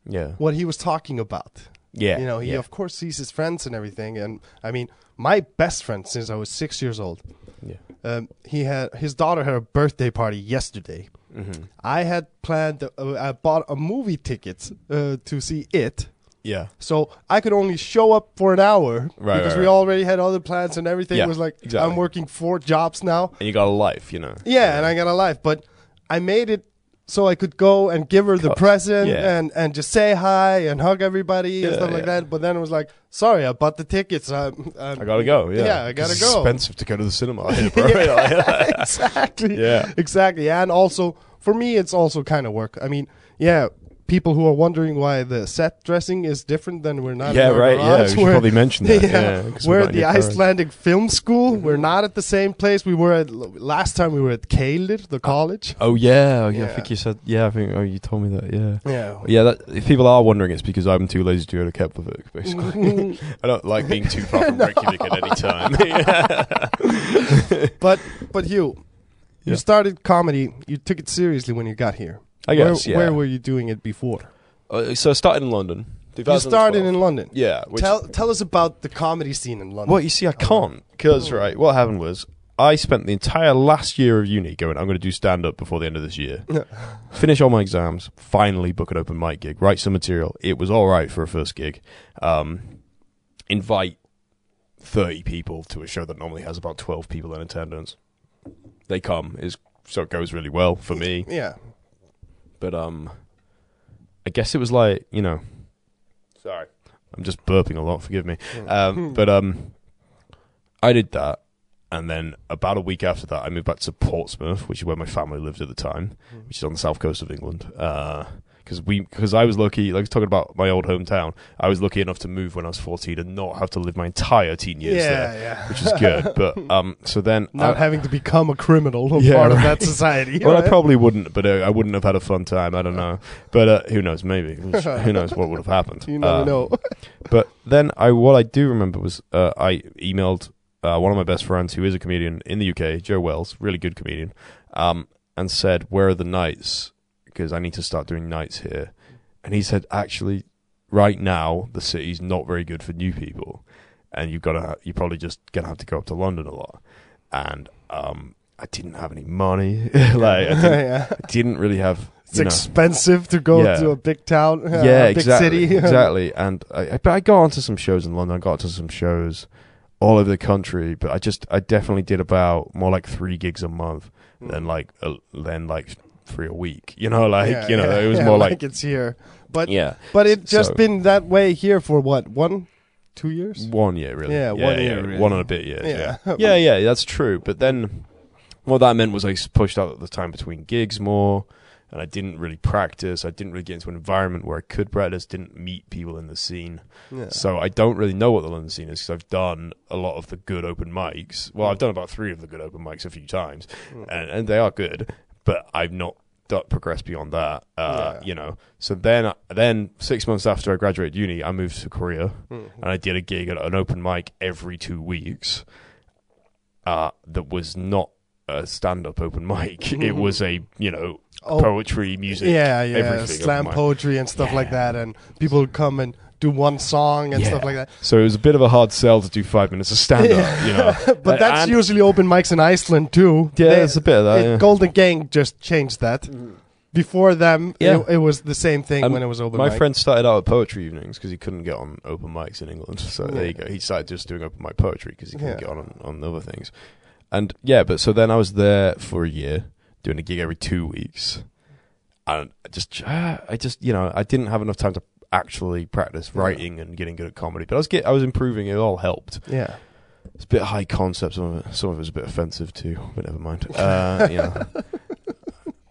Yeah. what he was talking about. Yeah. You know, he yeah. of course sees his friends and everything. And I mean, my best friend since I was six years old. Yeah. Um, he had his daughter had a birthday party yesterday. Mhm. I had planned. Uh, I bought a movie ticket uh, to see it, yeah. so I could only show up for an hour Right, because right, we right. already had other plans and everything. Yeah, was like exactly. I'm working four jobs now. And you got a life, you know. Yeah, and I got a life, but I made it so I could go and give her the course, present yeah. and and just say hi and hug everybody and Yeah, stuff like yeah. that. But then it was like, sorry, I bought the tickets. I'm, I'm, I gotta go. Yeah, Yeah, I gotta 'Cause it's go. Expensive to go to the cinema, here, bro. *laughs* Yeah, exactly. *laughs* Yeah. Exactly. And also, for me, it's also kind of work. I mean, yeah, people who are wondering why the set dressing is different than we're not. in Yeah, our right. Yeah, we garage, should we're- probably mention that. *laughs* yeah, Yeah, 'cause we're we're not at in the your garage. Icelandic Film School. We're not at the same place we were at l- last time. We were at Keilir, the college. Oh yeah, oh, yeah, Yeah. I think you said yeah. I think oh you told me that. Oh, Yeah, Yeah. yeah. That, if people are wondering, it's because I'm too lazy to go to *laughs* Keflavik. *laughs* Basically, I don't like being too far from Reykjavik at any time. But but you, you Yeah. started comedy. You took it seriously when you got here. *laughs* I guess Where, yeah. where were you doing it before? Uh, so I started in London. You started in London. yeah. Which, tell tell us about the comedy scene in London. well, you see, I can't because right. What happened was I spent the entire last year of uni going. I'm going to do stand up before the end of this year. finish all my exams, finally book an open mic gig, write some material. It was all right for a first gig. Um, invite 30 people to a show that normally has about 12 people in attendance. They come, is so it goes really well for me. Yeah. But um, I guess it was like you know, Hmm. sorry, I'm just burping a lot. Forgive me. Um, but um, I did that, and then about a week after that, I moved back to Portsmouth, which is where my family lived at the time, Mhm. which is on the south coast of England. Because we, because I was lucky, like I was talking about my old hometown, I was lucky enough to move when I was fourteen and not have to live my entire teen years yeah, there, yeah. which is good. but um, so then *laughs* Not I- having to become a criminal or Yeah, part of right. that society. *laughs* well, I right? probably wouldn't, but uh, I wouldn't have had a fun time. I don't know, but uh, who knows? *laughs* Maybe who knows what would have happened? you never Um, know. But then I what I do remember was uh, I emailed uh, one of my best friends who is a comedian in the UK, Joe Wells, really good comedian, um, and said, "Where are the nights? Because I need to start doing nights here." And he said, "Actually, right now the city's not very good for new people, and you've got to you probably just gonna have to go up to London a lot." And um, I didn't have any money, *laughs* *laughs* *laughs* like I didn't, yeah. didn't really have. It's you *laughs* know- expensive to go Yeah. to a big town, uh, *laughs* yeah, a big exactly, city. exactly. And I, I- but I got onto some shows in London. I got onto some shows all over the country. But I just, I definitely did about more like three gigs a month Hmm. than like, uh, than like three a week. You know, *laughs* like Yeah, you know, yeah, it was yeah, more like, it's here, but yeah, but it just So- been that way here for what one, two years. one year really. Yeah, one year, really. one and a bit years. Yeah. Yeah. *laughs* yeah, yeah, That's true. But then, what that meant was I s- pushed out the time between gigs more. And I didn't really practice. I didn't really get into an environment where I could practice. Didn't meet people in the scene. Yeah. So I don't really know what the London scene is because I've done a lot of the good open mics. Well, I've done about three of the good open mics a few times, Mm. and, and they are good, but I've not do- progressed beyond that. Uh, Yeah. You know. So then, uh, then six months after I graduated uni, I moved to Korea Mm. and I did a gig at an open mic every two weeks. Uh, that was not a stand-up open *laughs* mic. *laughs* It was a you know Oh, poetry, music, yeah, yeah, everything slam open mic. poetry and stuff like that, and people come and do one song and Yeah. stuff like that. So it was a bit of a hard sell to do five minutes of stand up, you know. *laughs* But that's and- usually open mics in Iceland too. Yeah, They- it's a bit of that. it- yeah. Mm-hmm. Golden Gang just changed that. Before them, Yeah. it, it was the same thing Um, when it was open My mic. friend started out at poetry evenings because he couldn't get on open mics in England. *laughs* So there Yeah. you go. He started just doing open mic poetry because he couldn't Yeah. get on, on on other things. And yeah, but so then I was there for a year doing a gig every two weeks, and I just I just you know I didn't have enough time to actually practice Yeah. writing and getting good at comedy. But I was get I was improving. It all helped. yeah, It's a bit high concept. Some of it, some of it was a bit offensive too, but never mind. Uh, you know. *laughs*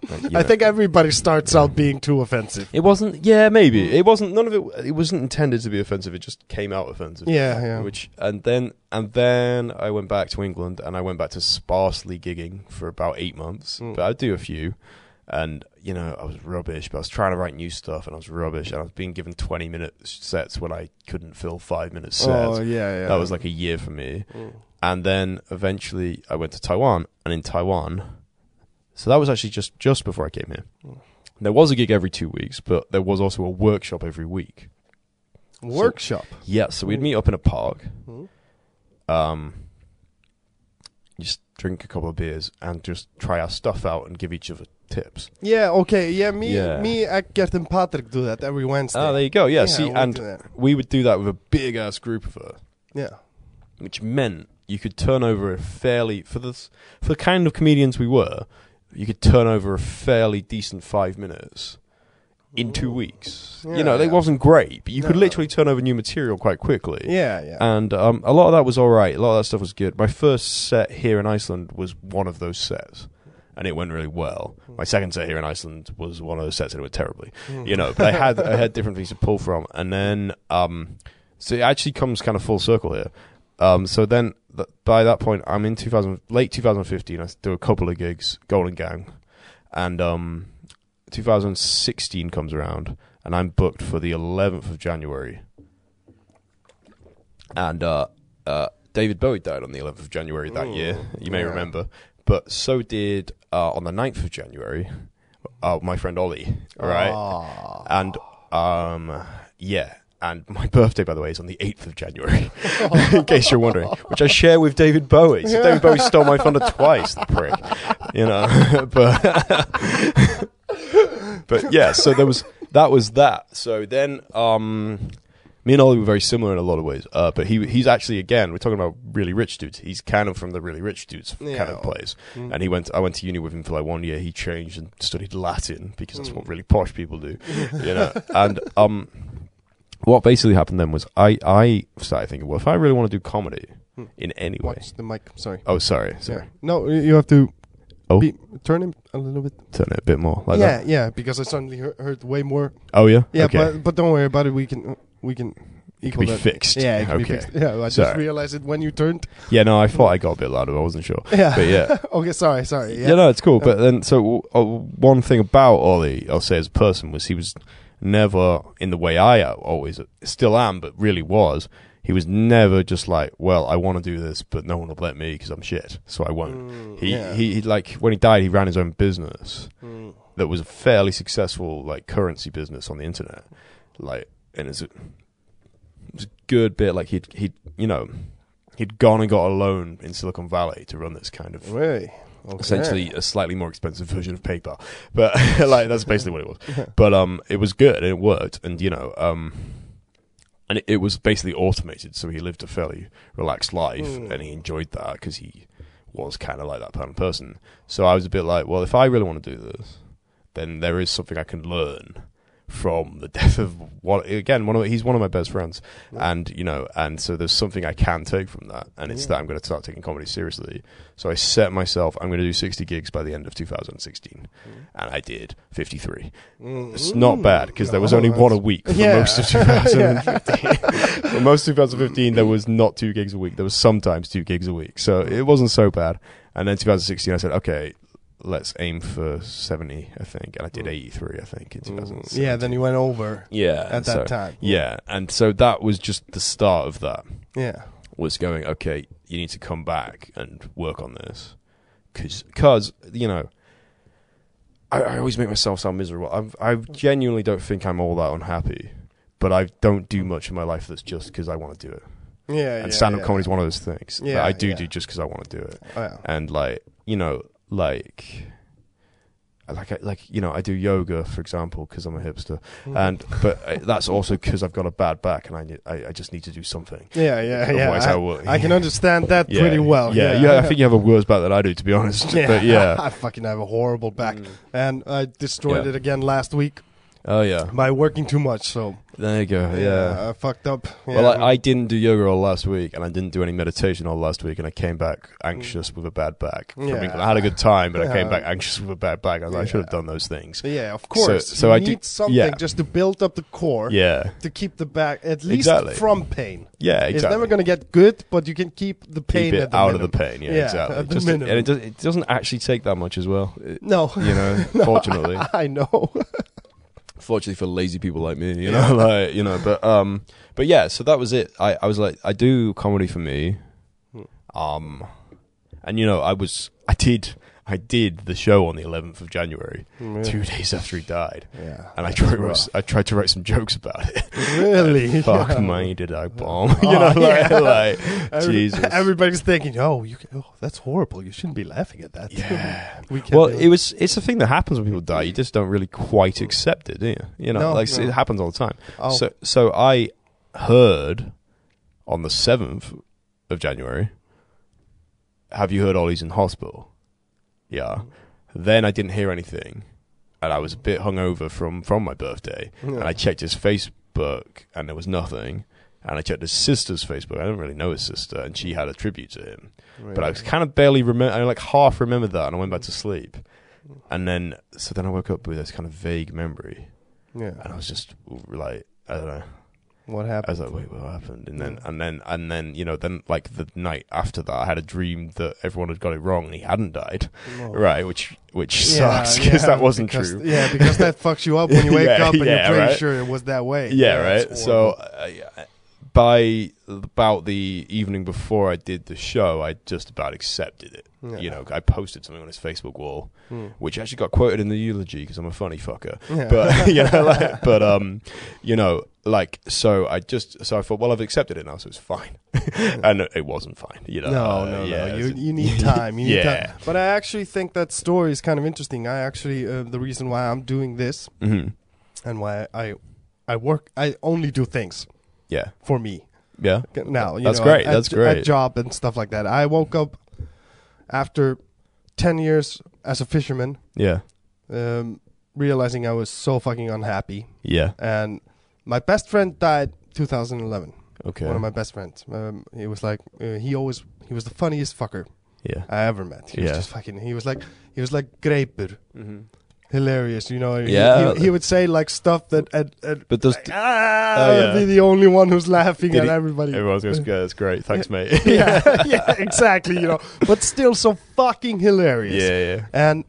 Like, you I know. think everybody starts out being too offensive. it wasn't. Yeah, Hmm. maybe it wasn't. None of it. It wasn't intended to be offensive. It just came out offensive. Yeah, yeah. Which and then and then I went back to England and I went back to sparsely gigging for about eight months. Mm. But I do a few, and you know I was rubbish. But I was trying to write new stuff and I was rubbish. And I was being given twenty minute sets when I couldn't fill five minute sets. Oh yeah, yeah. That was like a year for me. Mm. And then eventually I went to Taiwan, and in Taiwan, so that was actually just just before I came here. Mm. There was a gig every two weeks, but there was also a workshop every week. workshop. Yeah, so we'd Mm. meet up in a park, Mm. um, just drink a couple of beers, and just try our stuff out and give each other tips. Yeah, okay. Yeah, me, Yeah. me, Eckert and Patrick do that every Wednesday. Oh, there you go. Yeah, see, we do and that. we would do that with a big ass group of us. yeah, which meant you could turn over a fairly for this for the kind of comedians we were, you could turn over a fairly decent five minutes in two weeks. Yeah, you know, yeah. it wasn't great, but you could No. literally turn over new material quite quickly. yeah, yeah. Eh, And um, a lot of that was all right. A lot of that stuff was good. My first set here in Iceland was one of those sets, and it went really well. Hmm. My second set here in Iceland was one of those sets, and it went terribly. Mm. You know, but I had I had different things to pull from, and then um, so it actually comes kind of full circle here. Um, so then th- by that point, I'm in 2000 late 2015. I do a couple of gigs, Golden Gang, and um, 2016 comes around, and I'm booked for the 11th of January and uh, uh, David Bowie died on the 11th of January that Ooh, year. You may yeah. remember, but so did uh, on the 9th of January, uh, my friend Ollie. All right, Aw. and um, yeah, and my *laughs* birthday, by the way, is on the 8th of January, *laughs* in case you're wondering, which I share with David Bowie. So David Bowie stole my thunder twice, the prick. You know, *laughs* but but *laughs* yeah, so there was that was that. So then, um, me and Ollie were very similar in a lot of ways, uh, but he he's actually again we're talking about really rich dudes. He's kind of from the really rich dudes kind Yeah. of place, Hmm. and he went. I went to uni with him for like one year. He changed and studied Latin because Hmm. that's what really posh *laughs* people do, you know. And um, what basically happened then was I I started thinking, well, if I really want to do comedy, Hmm. in any way. Watch the mic. Sorry. Oh, sorry, Yeah. sorry. No, y- you have to. Oh. Be, turn him a little bit. Turn it a bit more like yeah, that. yeah. Because I suddenly heard, heard way more. Oh yeah. Yeah, okay. but but don't worry about it. We can we can. it equal can be that. fixed. Yeah, it can okay. be fixed. Yeah, I just Sorry. realized it when you turned. Yeah, no, I thought I got a bit louder. but I wasn't sure. *laughs* Yeah. But yeah. okay, sorry, sorry. Yeah. Yeah. Um, no, it's cool. But then, so uh, one thing about Ollie, I'll say as a person, was he was never in the way I uh, always still am, but really was. He was never just like, well, I want to do this, but no one will let me because I'm shit, so I won't. Mm, He, yeah. he he like when he died, he ran his own business Mm. that was a fairly successful like currency business on the internet, like and it's a, it was a good bit like he'd he'd you know he'd gone and got a loan in Silicon Valley to run this kind of Really? Okay. essentially a slightly more expensive *laughs* version of PayPal. But *laughs* like that's basically what it was. But um, it was good and it worked, and you know um, and it, it was basically automated, so he lived a fairly relaxed life Mm. and he enjoyed that because he was kind of like that kind of person. So I was a bit like, well, if I really want to do this, then there is something I can learn from the death of one again one of he's one of my best friends Yeah. and you know and so there's something i can take from that and it's Yeah. that i'm going to start taking comedy seriously so I set myself, I'm going to do 60 gigs by the end of 2016. And I did 53. Mm. It's not bad because there was only No, one a week for Yeah. *laughs* most of 2015. for most of 2015, there was not two gigs a week. There was sometimes two gigs a week. So it wasn't so bad. And then 2016, I said, okay, let's aim for 70, I think. And I did Mm. 83, I think, in that's- Mm. 2016. Yeah, then you went over Yeah. at that and so- time. Yeah. And so that was just the start of that Yeah. was going, okay, you need to come back and work on this. Because, you know, I, I always make myself sound miserable. I'm, I genuinely don't think I'm all that unhappy, but I don't do much in my life that's just because I want to do it. Yeah. yeah and stand up yeah. comedy is one of those things that Yeah, I do yeah. do just because I want to do it. Oh, yeah. And, like, you know, like. I Like, I, like you know, I do yoga, for example, because I'm a hipster, Mm. and but I, that's also because I've got a bad back, and I, need, I I just need to do something. yeah, *laughs* yeah, yeah. *laughs* Otherwise, I, I, will. I can understand that Yeah, pretty well. Yeah, you- I think you have a worse back than I do, to be honest. But yeah. *laughs* I fucking have a horrible back, Mm. and I destroyed Yeah. it again last week Oh yeah. by working too much. So There you go. Uh, Yeah. I fucked up. Well, Yeah. I, I didn't do yoga all last week, and I didn't do any meditation all last week, and I came back anxious with a bad back. from Mm. Yeah. England. I had a good time, but I came Yeah. back anxious with a bad back. I was like, I should have Yeah. done those things. yeah, of course. so you I do- need something yeah. just to build up the core Yeah, to keep the back at least Exactly. from pain. yeah, exactly. It's never going to get good, but you can keep the pain Keep it at the out minimum. of the pain. Yeah, Yeah, exactly. at the Just- minimum. And it, does, it doesn't actually take that much as well. It- *laughs* No, you know, fortunately. I know. fortunately for lazy people like me, you know, *laughs* like you know, but um, but yeah, so that was it. I, I was like, I do comedy for me, um, and you know, I was, I did, I did the show on the 11th of January, two days after he died, *laughs* Yeah. and I tried, to write, I tried to write some jokes about *laughs* it. Really? Fuck, Yeah. man, did I bomb? *laughs* you know, Oh, like, yeah. *laughs* like Every- Jesus. Everybody's thinking, "Oh, you can, oh, that's horrible. You shouldn't be laughing at that." *laughs* yeah. we can't Well, do it was. It's a thing that happens when people die. You just don't really quite accept it, do you? You know, No, like no. it happens all the time. Oh. So, so I heard on the seventh of January. Have you heard Ollie's in hospital? Yeah. Then I didn't hear anything, and I was a bit hungover from from my birthday. And I checked his Facebook, and there was nothing. And I checked his sister's Facebook. I didn't really know his sister, and she had a tribute to him but I was kind of barely remember. I like half remembered that, and I went back to sleep. And then, so then I woke up with this kind of vague memory, yeah. and I was just like, I don't know. What I happened? was like, wait, what happened? And then, and then, and then, you know, then like the night after that, I had a dream that everyone had got it wrong and he hadn't died, No. right? *laughs* Which which Oh. Yeah, sucks because yeah, that wasn't because- true. Yeah, because *laughs* that fucks you up when you wake Yeah, up and you're yeah, pretty right. sure it was that way. Yeah, right. it's So horrible. uh, by about the evening before I did the show, I just about accepted it. Yeah. You know, I posted something on his Facebook wall, Mm. which actually got quoted in the eulogy because I'm a funny fucker. Yeah. But *laughs* you know, *laughs* like, but um, you know, like so I just so I thought, well, I've accepted it now, so it's fine, *laughs* and it wasn't fine. You know, no, uh, no, yeah, no. it's- You, *laughs* you need time. You need Yeah. time. But I actually think that story is kind of interesting. I actually uh, the reason why I'm doing this Mhm. and why I I work I only do things yeah, for me. yeah, now. You That's know, great, At, that's great. At job and stuff like that. I woke up after ten years as a fisherman, yeah, um, realizing I was so fucking unhappy. yeah. And my best friend died 2011. Okay. one of my best friends. Um, he was like, uh, he always, he was the funniest fucker yeah. I ever met. He Yeah. was just fucking, he was like, he was like Graper. Mm-hmm. Hilarious, you know. He- Yeah. He, he would say like stuff that, and, and But does ah, Oh, yeah. be the only one who's laughing Did at he- everybody. everyone's goes, yeah, that's great. Thanks, *laughs* mate. *laughs* yeah, yeah, exactly. You know, but still so fucking hilarious. yeah. and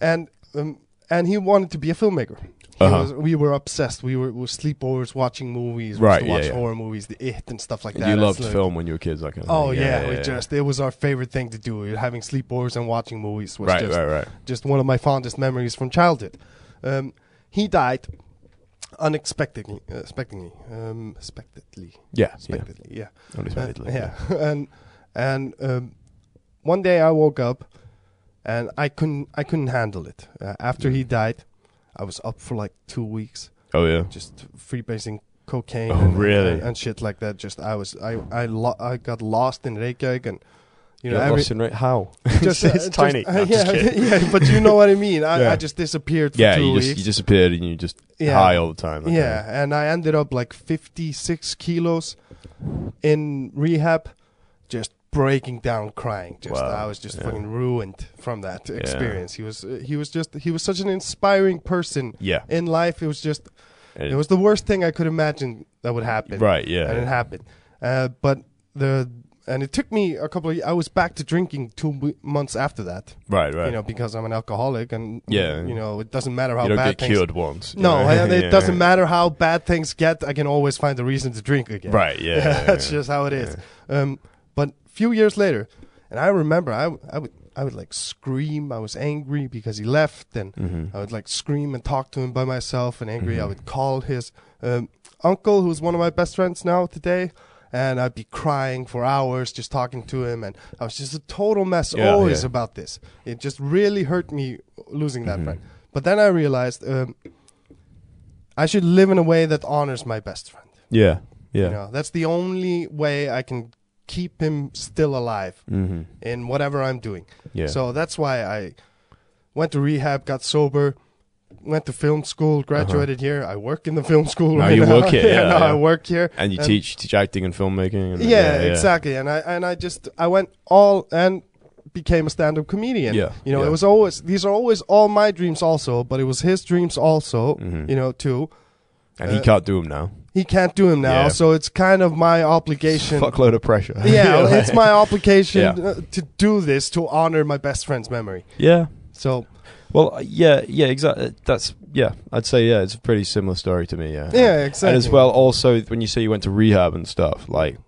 and um, and he wanted to be a filmmaker. He Uh-huh. was, we were obsessed. We were, we were sleepovers, watching movies, Right, We used to yeah, watch yeah. horror movies, The It and stuff like And that. you It's loved like- film when you were kids, that kind of Oh thing. yeah, we just it was our favorite thing to do. Having sleepovers and watching movies was right, just right, right. just one of my fondest memories from childhood. Um, he died unexpectedly, uh, expectedly, um, expectedly, Yeah, yeah. expectedly, yeah. Uh, Unexpectedly. yeah, *laughs* and and um, one day I woke up, and I couldn't I couldn't handle it. Uh, after Mm. he died, I was up for like two weeks, Oh yeah. just freebasing cocaine. Oh, and, really? And, and shit like that. Just I was I I lo- I got lost in Reykjavik and. You You know, got every, lost in right? *laughs* How? *laughs* just, it's uh, just- tiny. uh, No, I'm yeah, *laughs* just kidding. yeah, but you know *laughs* what I mean. I, Yeah. I just disappeared for yeah, two you weeks. just you disappeared and you just Yeah. high all the time. that Yeah, and I ended up like 56 kilos in rehab, just breaking down, crying. Just Wow, I was just yeah. fucking ruined from that experience. He was he was just he was such an inspiring person Kind of, yeah. in life. It was just And it was the worst thing I could imagine that would happen. right. Yeah. and it happened. Uh, but the and it took me a couple of. I was back to drinking two w- months after that. right. Right. You know, because I'm an alcoholic, and Yeah. you know, it doesn't matter how You don't bad get things cured once. you no, know? and it *laughs* Yeah, doesn't yeah. matter how bad things get. I can always find a reason to drink again. Right. Yeah. yeah, *laughs* that's yeah. just how it is. Um, but few years later, and I remember I, w- I would I would like scream. I was angry because he left, and Mhm. I would like scream and talk to him by myself and angry. I Mm-hmm. would call his um, uncle, who's one of my best friends now today. And I'd be crying for hours just talking to him. And I was just a total mess Yeah, always yeah. Mm-hmm. about this. It just really hurt me losing that friend. But then I realized um, I should live in a way that honors my best friend. Yeah. Yeah. You know, that's the only way I can keep him still alive Mm-hmm. in whatever I'm doing. Yeah. So that's why I went to rehab, got sober, went to film school, graduated here. I work in the film school. Uh-huh. Now you work *laughs* here, yeah, now yeah. I work here. and you and- teach teach acting and filmmaking. And, Yeah, exactly. And I and I just I went all and became a stand-up comedian. Yeah, You know, yeah. it was always these are always all my dreams also, but it was his dreams also, Mhm. you know, too. And Uh, he can't do them *laughs* now. He can't do him now, Yeah. so it's kind of my obligation. Fuckload of pressure. *laughs* *laughs* Yeah, it's my obligation Yeah. uh, to do this to honor my best friend's memory. Yeah. So Well, uh, yeah, yeah, exactly. That's yeah. I'd say yeah, it's a pretty similar story to me. Yeah. yeah, exactly. And as well, also when you say you went to rehab and stuff, like,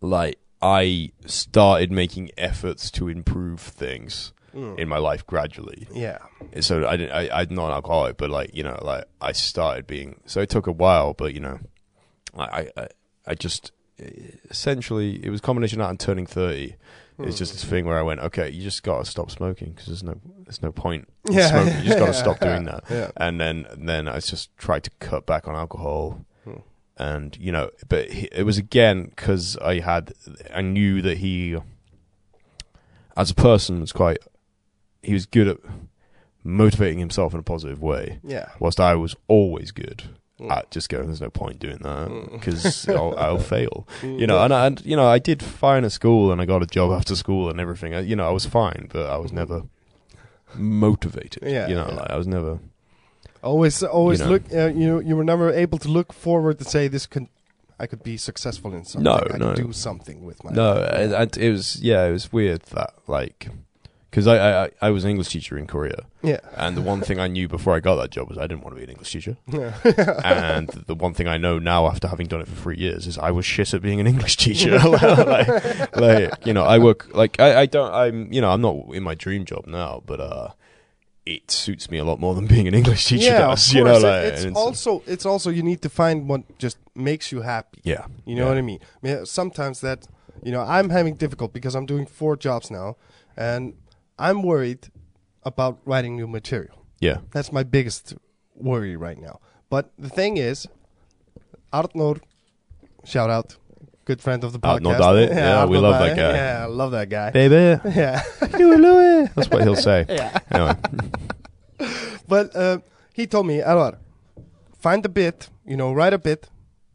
like I started making efforts to improve things Mm. in my life gradually. yeah, And So I didn't. I, I'm not an alcoholic, but like you know, like I started being. So it took a while, but you know, I I I- I just essentially it was a combination of that and turning thirty. Hmm. It's just this thing where I went, okay, you just gotta stop smoking because there's no there's no point. in Yeah. smoking. you just *laughs* gotta stop doing that. yeah, And then then I just tried to cut back on alcohol, Hmm. and you know, but he- it was again because I had I knew that he, as a person, was quite he was good at motivating himself in a positive way, yeah. whilst I was always good. Mm. at just going, there's no point doing that Mm. because *laughs* I'll, I'll fail Hmm. you know, and, I, and you know, I did fine at school, and I got a job after school, and everything. I, you know, I was fine, but I was never motivated. Hmm. Yeah, you know, yeah. like I was never. always, always you know. look. Uh, you know, you were never able to look forward to say this can, I could be successful in something. No, I no. could do something with my. *laughs* No, I, I, it was yeah, it was weird that like, because I, I I- I was an English teacher in Korea, Yeah. and the one thing I knew before I got that job was I didn't want to be an English teacher, *laughs* yeah. *laughs* and the one thing I know now after having done it for three years is I was shit at being an English *laughs* teacher. *laughs* like, like, you know, I work like I, I don't I'm you know I'm not in my dream job now, but uh, it suits me a lot more than being an English teacher yeah, of does. You know, course. It- like it's, and it's- also it's also you need to find what just makes you happy. yeah, You know yeah. what I mean? I mean, Sometimes that, you know, I'm having difficult because I'm doing four jobs now, and I'm worried about writing new material. Yeah, That's my biggest worry right now. But the thing is, Artnor, shout out, good friend of the Arnór podcast. *laughs* Dahle. Yeah, we Arnór love that Dahle. guy. Yeah, I love that guy. *laughs* *laughs* baby, Yeah, Louis, Louis. That's what he'll say. *laughs* yeah. Anyway. But uh, he told me, Alvar, find a bit, you know, write a bit,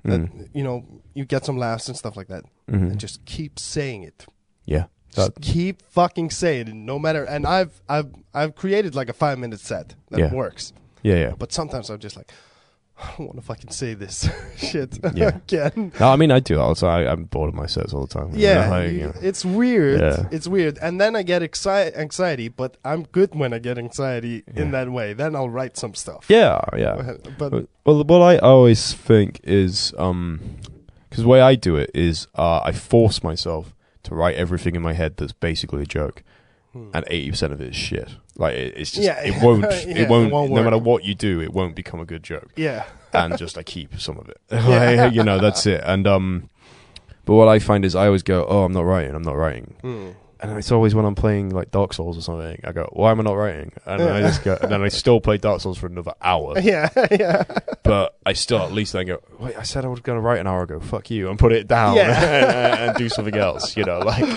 that Mm. you know you get some laughs and stuff like that, Mhm. and just keep saying it. yeah. Just That- keep fucking saying it, no matter. And I've I've I've created like a five minute set that Yeah. works, yeah, yeah. but sometimes I'm just like, *sighs* I don't want to fucking say this *laughs* shit Yeah. *laughs* again. No, I mean I do. Also, I, I'm bored of my sets all the time. You Yeah, know, like, you- you know. *laughs* it's weird. Yeah. It's weird. And then I get exci- anxiety, but I'm good when I get anxiety in Yeah. that way. Then I'll write some stuff. yeah, Oh, yeah. But- But Well, well, what I always think is um 'cause the way I do it is uh, I force myself to write everything in my head that's basically a joke, Hmm. and eighty percent of it is shit. Like it, it's just Yeah. it won't Yeah, it it won't, won't no work. matter what you do it won't become a good *laughs* joke. yeah, and just I keep some of it. *laughs* Like, you know that's it. And um, but what I find is I always go oh I'm not writing I'm not writing Hmm. *laughs* and it's always when I'm playing like Dark Souls or something, I go, "Why am I not writing?" And then I just go, and then I still play Dark Souls for another hour. *laughs* *laughs* yeah, yeah. But I still at least then go, "Wait, I said I was going to write an hour ago. Fuck you!" and put it down Yeah. *laughs* and do something else, you know, like, *laughs*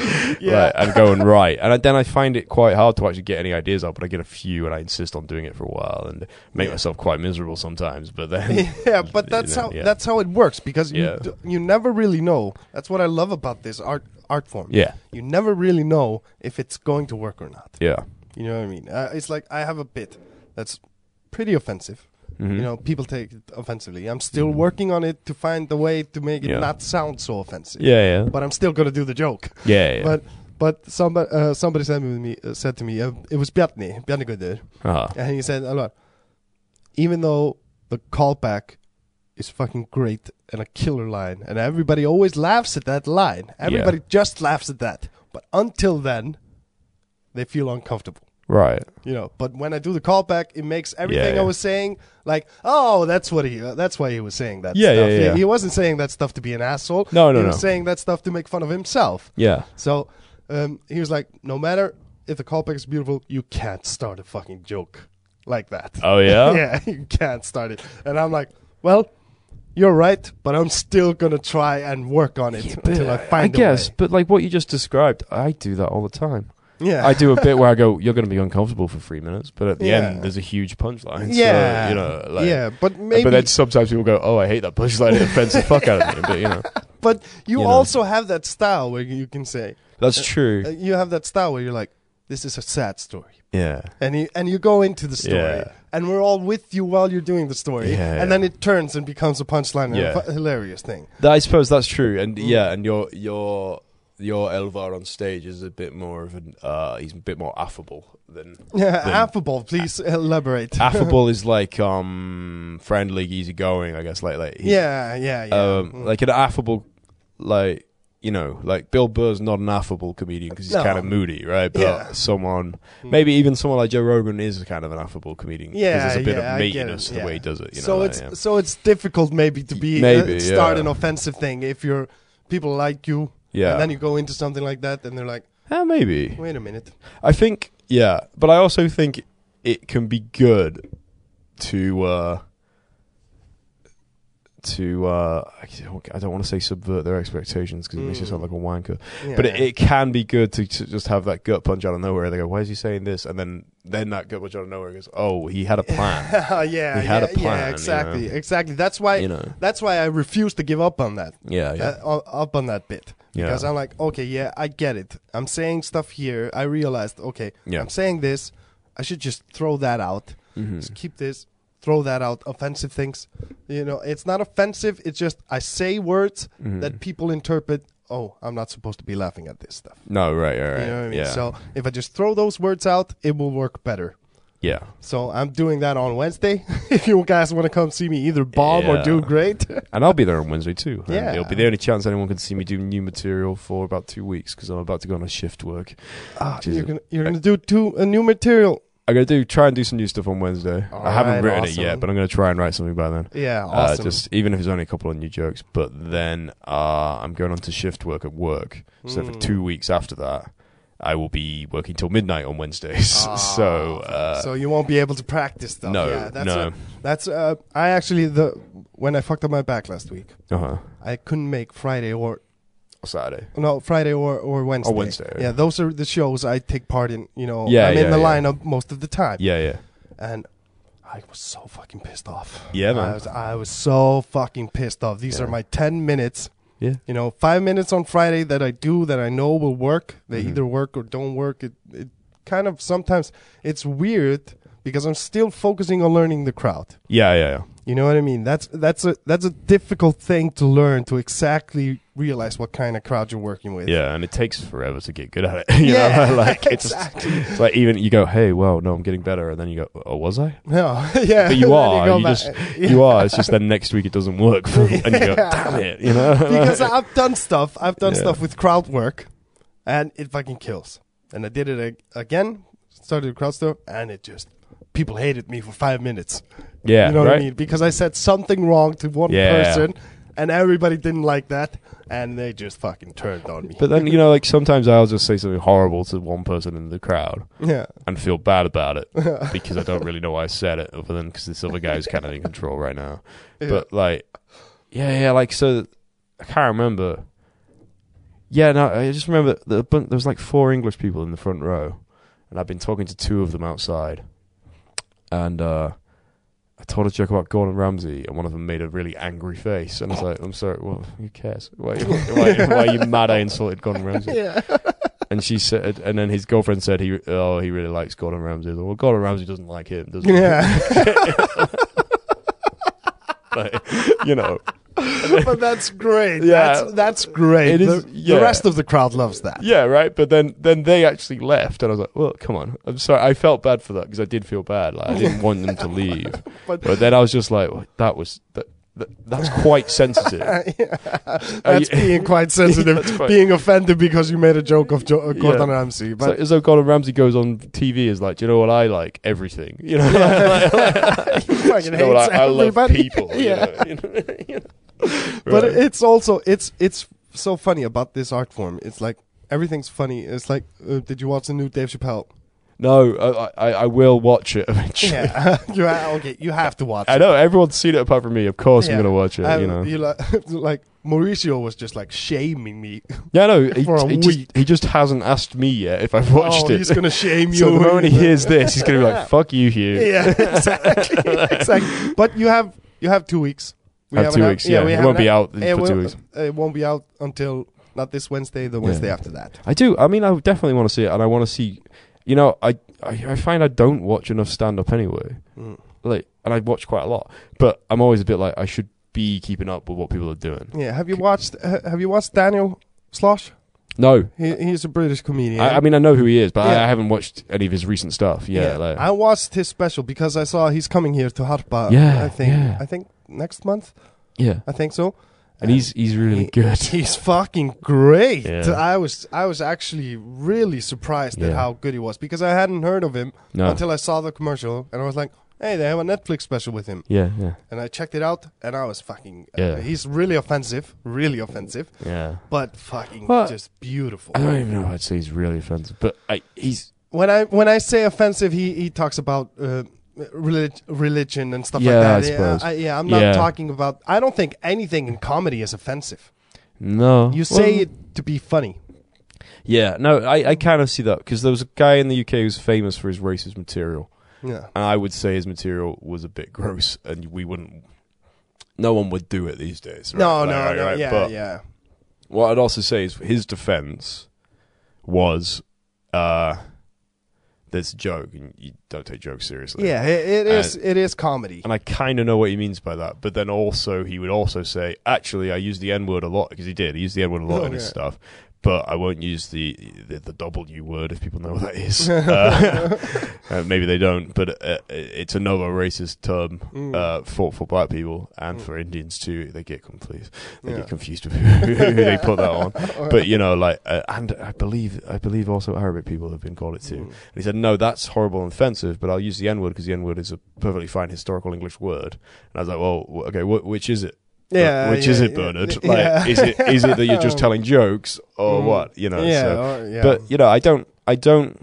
Yeah. like, and go and write. And then I find it quite hard to actually get any ideas out, but I get a few, and I insist on doing it for a while and make Yeah. myself quite miserable sometimes. But *laughs* then, yeah, but that's know, how yeah. that's how it works because you Yeah. d- you never really know. That's what I love about this art art form. yeah, You never really know if it's going to work or not. yeah, You know what I mean? Uh, it's like I have a bit that's pretty offensive. Mhm. You know, people take it offensively. I'm still Mhm. working on it to find the way to make it Yeah. not sound so offensive. yeah, yeah, But I'm still gonna do the joke. yeah, yeah. But but somebody uh, somebody said to me uh, said to me uh, it was Bjarni Bjarni Guður Ah. and he said a lot. Even though the callback is fucking great and a killer line, and everybody always laughs at that line. Everybody just laughs at that. But until then, they feel uncomfortable. right, You know, but when I do the callback, it makes everything yeah. I was saying like, oh, that's what he, uh, that's why he was saying that. Yeah, stuff. yeah, yeah. He wasn't saying that stuff to be an asshole. No, no, he was no. saying that stuff to make fun of himself. yeah, So um, he was like, no matter if the callback is beautiful, you can't start a fucking joke like that. oh yeah, *laughs* yeah, you can't start it. And I'm like, well, you're right, but I'm still gonna try and work on it until I find a guess, way. but like what you just described, I do that all the time. Yeah, I do a bit where *laughs* I go, "You're going to be uncomfortable for three minutes," but at the Yeah. end, there's a huge punchline. yeah, so, you know, like, yeah, but maybe, But then sometimes people go, "Oh, I hate that punchline. It offends the fuck out of me." But *laughs* you know, but you, you know. also have that style where you can say, that's true. uh, you have that style where you're like, this is a sad story. yeah, And you, and you go into the story, Yeah. and we're all with you while you're doing the story, Yeah, and yeah. then it turns and becomes a punchline and a Yeah. fu- hilarious thing. *laughs* That- I suppose that's true. Mm. And yeah, and your your your Elvar on stage is a bit more of an uh, he's a bit more affable *laughs* than Yeah, than- affable. Please elaborate. affable is like um friendly, easygoing. I guess like like he's- *laughs* yeah, yeah, yeah. um, Mm. like an affable, like you know, like Bill Burr's not an affable comedian because he's No. kind of moody, right? But Yeah. Mm. someone, maybe even someone like Joe Rogan is kind of an affable comedian. 'cause Yeah, there's a bit yeah, of I get meatiness it, to the way he yeah. does it. You know, so like, it's yeah. so it's difficult maybe to be Maybe, uh, start yeah. an offensive thing if you're people like you, yeah, and then you go into something like that, and they're like, Eh, maybe. wait a minute. I think yeah, but I also think it can be good to uh to uh I don't- I don't want to say subvert their expectations because it makes you Mm. sound like a wanker. Yeah. But it, it can be good to, to just have that gut punch out of nowhere. They go, "Why is he saying this?" And then then that gut punch out of nowhere goes, "Oh, he had a plan." *laughs* yeah, yeah, We had a plan, you yeah, know. exactly, exactly. That's why you know? that's why *laughs* I refuse to give up on that, Yeah, yeah, uh, o- up on that bit, yeah, because I'm like, okay, yeah, I get it. I'm saying stuff here. I realized, okay, yeah. I'm saying this. I should just throw that out. Mhm. Just keep this, throw that out. Offensive things, you know, it's not offensive. It's just I say words Mhm. that people interpret. Oh, I'm not supposed to be laughing at this stuff. No, right, right, right. You know what I mean? Yeah, So if I just throw those words out, it will work better. yeah. So I'm doing that on Wednesday. *laughs* if you guys want to come see me either bomb or Yeah. do great, And I'll be there on Wednesday too. And Yeah. it'll be the only chance anyone can see me do new material for about two weeks because I'm about to go on a shift work. Ah, Jesus. you're gonna you're gonna do two a new material. I'm gonna do try and do some new stuff on Wednesday. All I haven't right, written awesome. it yet, but I'm gonna try and write something by then. Yeah, awesome. Uh, just even if it's only a couple of new jokes, but then uh, I'm going on to shift work at work. So for Mm. two weeks after that, I will be working till midnight on Wednesdays. *laughs* Ah, so uh, so you won't be able to practice stuff. no, yeah, that's no, what- That's uh, I actually the when I fucked up my back last week, uh-huh. I couldn't make Friday or Saturday. no Friday or or Wednesday. Oh, Wednesday, Yeah, those are the shows I take part in. You know, Yeah, I'm in yeah, the yeah. lineup most of the time. Yeah, yeah, and I was so fucking pissed off. Yeah, man. I was, I was so fucking pissed off. These Yeah. are my 10 minutes. Yeah. You know, five minutes on Friday that I do that I know will work. They Mhm. either work or don't work. It, it kind of sometimes it's weird because I'm still focusing on learning the crowd. Yeah, yeah, yeah. You know what I mean? That's that's a that's a difficult thing to learn to exactly realize what kind of crowd you're working with. Yeah, *laughs* and it takes forever to get good at it. *laughs* You Yeah, know, like *laughs* it's, exactly. it's like even you go, hey, well, no, I'm getting better, and then you go, oh, was I? No, *laughs* yeah. But you Then are, go *laughs* you back- just- You are. It's just then next week it doesn't work, *laughs* for, and you go, Yeah. damn it, you know. *laughs* because I've done stuff. I've done Yeah. stuff with crowd work, and it fucking kills. And I did it ag- again. Started with crowd stuff, and it just people hated me for five minutes. yeah, you know right. what I mean? Because I said something wrong to one Yeah. person, and everybody didn't like that, and they just fucking turned on me. But then you know, like sometimes I'll just say something horrible to one person in the crowd *laughs* yeah, *laughs* and feel bad about it *laughs* because I don't really know why I said it, other than because this other guy is kind of in control right now. But like, yeah, yeah, like so, I can't remember. Yeah, no, I just remember the bun- there was like four English people in the front row, and I've been talking to two of them outside, and uh, I told a joke about Gordon Ramsay, and one of them made a really angry face, and I was like, "I'm sorry, well, who cares? Why, why, why are you mad? I insulted Gordon Ramsay." yeah, And she said, and then his girlfriend said, "He oh, he really likes Gordon Ramsay." I was like, Well, Gordon Ramsay doesn't like him, does he? yeah. *laughs* *laughs* Like, you know, but that's great. Yeah. that's, that's great. It is- the, yeah. the rest of the crowd loves that. yeah, right. But then, then they actually left, and I was like, "Well, come on, I'm sorry." I felt bad for that because I did feel bad. Like I didn't want them to leave, *laughs* But- but then I was just like, well, "That was that, that, that's quite sensitive." *laughs* Yeah. That's you- being quite sensitive. *laughs* That's quite- being offended because you made a joke of jo- uh, Yeah. Gordon Ramsay. It's like But as though Gordon Ramsay goes on TV is like, "Do you know what I like? Everything." *laughs* You know, *laughs* he You fucking know what, hates I, I love everybody. people. you yeah. know, you know, *laughs* you know. But Right. it's also it's it's so funny about this art form. It's like everything's funny. It's like uh, did you watch the new Dave Chappelle? no, I, I I will watch it *laughs* eventually. Yeah. *laughs* you ha- okay, you have to watch. I it. know everyone's seen it apart from me. Of course, Yeah. I'm gonna watch it. Um, you know, li- like *laughs* Mauricio was just like shaming me. yeah, no, he, for a he week. just he just hasn't asked me yet if I've watched oh, it. he's gonna shame you. *laughs* so the moment *laughs* he hears this, he's gonna be like, "Fuck you, Hugh." *laughs* Yeah, exactly, exactly. But you have you have two weeks. Have two haven't- weeks, yeah. It haven't- won't be out it for two will- uh, weeks. It won't be out until not this Wednesday, the Wednesday after that. I do. I mean, I definitely want to see it, and I want to see. You know, I, I I find I don't watch enough stand up anyway. Like, and I watch quite a lot, but I'm always a bit like I should be keeping up with what people are doing. Yeah. Have you watched uh, Have you watched Daniel Slosh? No, He, he's a British comedian. I, I mean I know who he is, but I, Yeah. I haven't watched any of his recent stuff. Yeah, like- I watched his special because I saw he's coming here to Harpa. Yeah, I think yeah. I think next month. yeah, I think so. and he's he's really Um, He- good. He's fucking great. Yeah. I was I was actually really surprised at Yeah. how good he was because I hadn't heard of him No. until I saw the commercial and I was like, "Hey, they have a Netflix special with him." yeah, yeah, And I checked it out and I was fucking uh, Yeah. he's really offensive, really offensive, yeah. but fucking Well, just beautiful. I don't even know if I'd say he's really offensive, but I, he's when I when I say offensive, he he talks about uh, relig- religion and stuff Yeah, like that. I suppose. I, yeah, I'm not Yeah. talking about I don't think anything in comedy is offensive. no. You say Well, it to be funny. yeah. No, I, I kind of see that because there was a guy in the UK who was famous for his racist material, Yeah. and I would say his material was a bit gross, and we wouldn't. No one would do it these days. Right? No, Like, no, right, no. right, Yeah, but yeah. What I'd also say is his defense was, uh, there's a joke, and you don't take jokes seriously. Yeah, it, it Uh, is. it is comedy. and I kind of know what he means by that. But then also, he would also say, actually, I use the N word a lot because he did. He used the N word a lot Oh, in his yeah. stuff. But I won't use the, the the W word if people know what *laughs* that is. Uh, *laughs* uh, maybe they don't, but uh, it's another racist term Mm. uh, for for black people and for Indians too. They get confused. They Yeah. get confused with *laughs* who, who they put *laughs* that on. But you know, like, uh, and I believe I believe also Arabic people have been called it too. And he said, no, that's horrible and offensive, but I'll use the N word because the N word is a perfectly fine historical English word. And I was like, well, wh- okay, wh- which is it? Yeah, which yeah, is it, yeah, Bernard? *laughs* yeah. Oh. Like, is it is it that you're *laughs* just telling jokes or Mm. what? You know, yeah, so- or- yeah. but you know, I don't, I don't.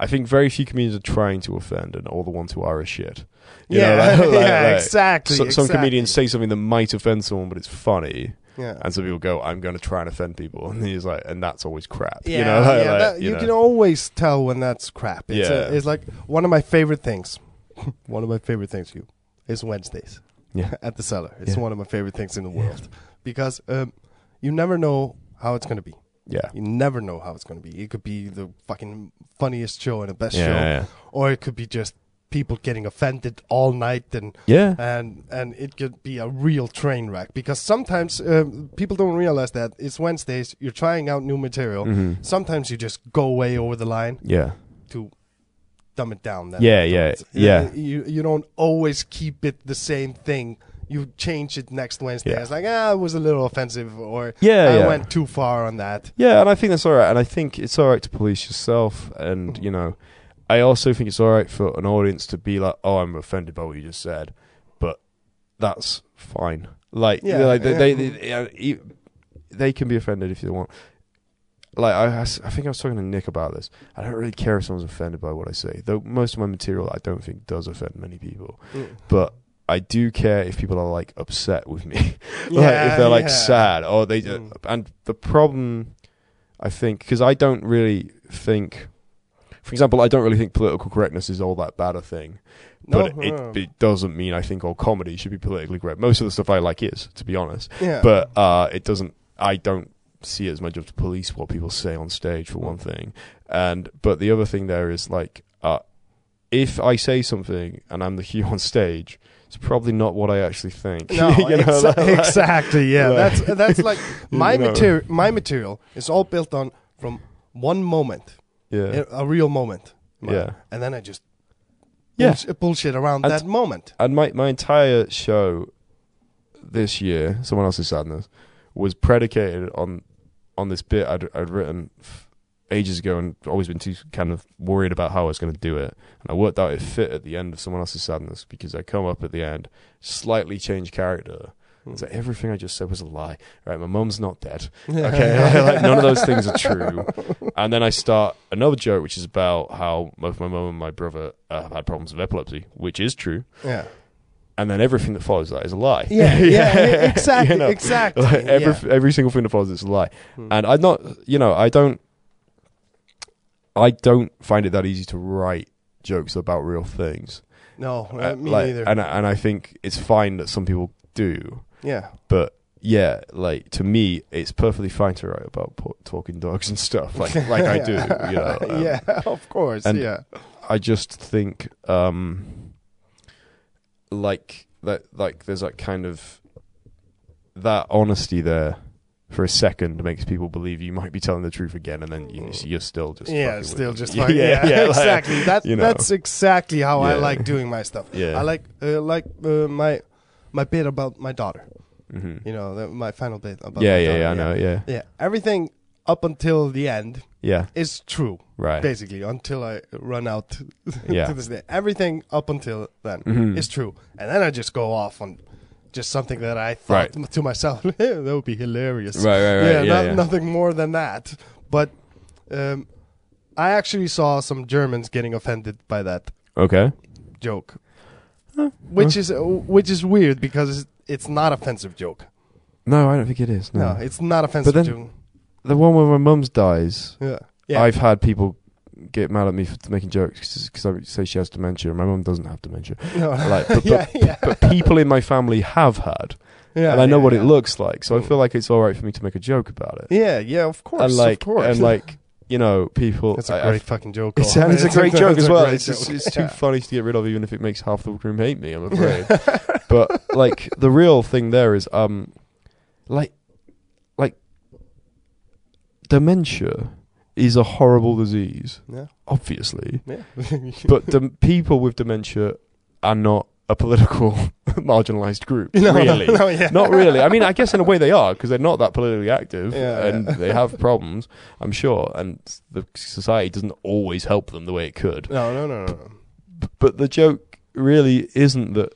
I think very few comedians are trying to offend, and all the ones who are are shit. You yeah, *laughs* know, like- *laughs* like- yeah, like, exactly. so- Some exactly. comedians say something that might offend someone, but it's funny, yeah. and some people go, "I'm going to try and offend people," *laughs* and he's like, "And that's always crap." Yeah, you know, *laughs* like- yeah, like, that- you know. can always tell when that's crap. It's, a- Yeah. it's like one of my favorite things *laughs* one of my favorite things, Hugh, is Wednesdays Yeah. at the cellar. It's Yeah. one of my favorite things in the Yeah. world because um, you never know how it's going to be. Yeah. You never know how it's going to be. It could be the fucking funniest show and the best Yeah, show, yeah, or it could be just people getting offended all night and yeah. Yeah. and and it could be a real train wreck because sometimes um, people don't realize that it's Wednesdays. You're trying out new material. Mhm. Sometimes you just go way over the line Yeah. to dumb it down. Then Yeah, yeah, afterwards. yeah. You you don't always keep it the same thing. You change it next Wednesday. Yeah. It's like ah, it was a little offensive, or Yeah, I yeah. went too far on that. Yeah, and I think that's all right. And I think it's all right to police yourself. And, you know, I also think it's all right for an audience to be like, oh, I'm offended by what you just said. But that's fine. Like, Yeah, yeah, like they, yeah. They, they, yeah, e- they can be offended if they want. Like, I, I s- I think I was talking to Nick about this. I don't really care if someone's offended by what I say, though most of my material I don't think does offend many people. But *laughs* I do care if people are, like, upset with me *laughs* like if they're like sad or they Mm. and the problem i think because i don't really think for example i don't really think political correctness is all that bad a thing No, but no. it, it doesn't mean i think all comedy should be politically correct most of the stuff i like is to be honest yeah. but uh it doesn't i don't see it as my job to police what people say on stage for one thing and but the other thing there is like uh if i say something and i'm the hue on stage it's probably not what i actually think No, *laughs* You know, exa- like- like- exactly. Yeah, like- that's that's *laughs* like my know. material. My material is all built on from one moment, yeah a a real moment. Yeah. and then I just Yeah. bullshit, bullshit around And- that moment. And my, my entire show this year, someone else's sadness, was predicated on on this bit I'd, I'd written f- ages ago and always been too kind of worried about how I was going to do it. And I worked out it fit at the end of someone else's sadness because I come up at the end, slightly change character. It's *laughs* like everything I just said was a lie. Right, my mum's not dead. *laughs* Okay, like, none of those things are true. And then I start another joke, which is about how both my mum and my brother uh, have had problems with epilepsy, which is true Yeah, and then everything that follows that is a lie. *laughs* yeah, yeah, yeah, e-, You exactly, know, exactly. *laughs* like, every yeah. every single thing that follows is a lie. Hmm. And I'm not, you know, I don't, I don't find it that easy to write jokes about real things. no, Uh, uh, me like, neither. And I- and I think it's fine that some people do, yeah, but yeah, like to me, it's perfectly fine to write about po- talking dogs and stuff, like like I *laughs* do. You know, um, yeah, of course. and- yeah, I just think um like that like there's that kind of that honesty there for a second makes people believe you might be telling the truth again and then you, you're still just fucking Mm. yeah, with still it. *laughs* just like, yeah, like- exactly. That's you know. that's exactly how I Yeah. like doing my stuff. Yeah. I like uh, like uh, my my bit about my daughter. Mhm. You know, uh, the, my final bit about yeah my yeah daughter, yeah I know yeah Yeah, everything up until the end yeah is true, right basically, until I run out *laughs* Yeah. to this day. Everything up until then Mhm. is true. And then I just go off on just something that I thought to myself, *laughs* that would be hilarious. right right right yeah, yeah, no- yeah. nothing more than that. But um, I actually saw some Germans getting offended by that okay joke. Which is which is weird because it's not offensive joke. no I don't think it is no, No, it's not offensive then- joke. the one where my mum's dies Yeah. Yeah. I've had people get mad at me for making jokes because I say she has dementia my mum doesn't have dementia no. *laughs* like but, yeah, but, yeah. but people in my family have had Yeah, and I know yeah, what yeah. it looks like. So I Mm. feel like it's all right for me to make a joke about it. Yeah, yeah, of course, and like, of course. and like, you know, people. that's I- a I- great *laughs* fucking joke. it's, Colin. and it's a great joke it's as a well. great It's, just, joke. it's too funny to get rid of, even if it makes half the room hate me. I'm afraid. *laughs* but like, the real thing there is, um, like, like, dementia is a horrible disease, Yeah, obviously. *laughs* yeah. But the people with dementia are not a political *laughs* marginalized *laughs* group, No, no, really. no, yeah. *laughs* Not really. I mean, I guess in a way they are because they're not that politically active Yeah, and they have *laughs* problems, I'm sure. And the society doesn't always help them the way it could. *laughs* No, no, no, no, no. But the joke really isn't that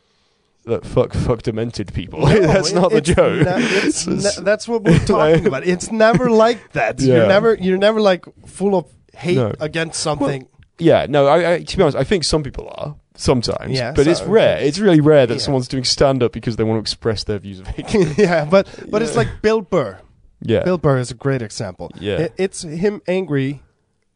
that fuck fuck demented people. *laughs* That's it- not the it's joke. ne- *laughs* it's It's- ne- that's what we're talking about. It's never like that. You're Yeah. never, you're never like full of hate No. against *laughs* something. yeah, no. I, I, to be honest, I think some people are sometimes, Yeah, but it's so- rare. It's really rare that Yeah. someone's doing stand up because they want to express their views of *laughs* hate. yeah, *laughs* but but it's Yeah. like Bill Burr. yeah, Bill Burr is a great example. Yeah. I- it's him angry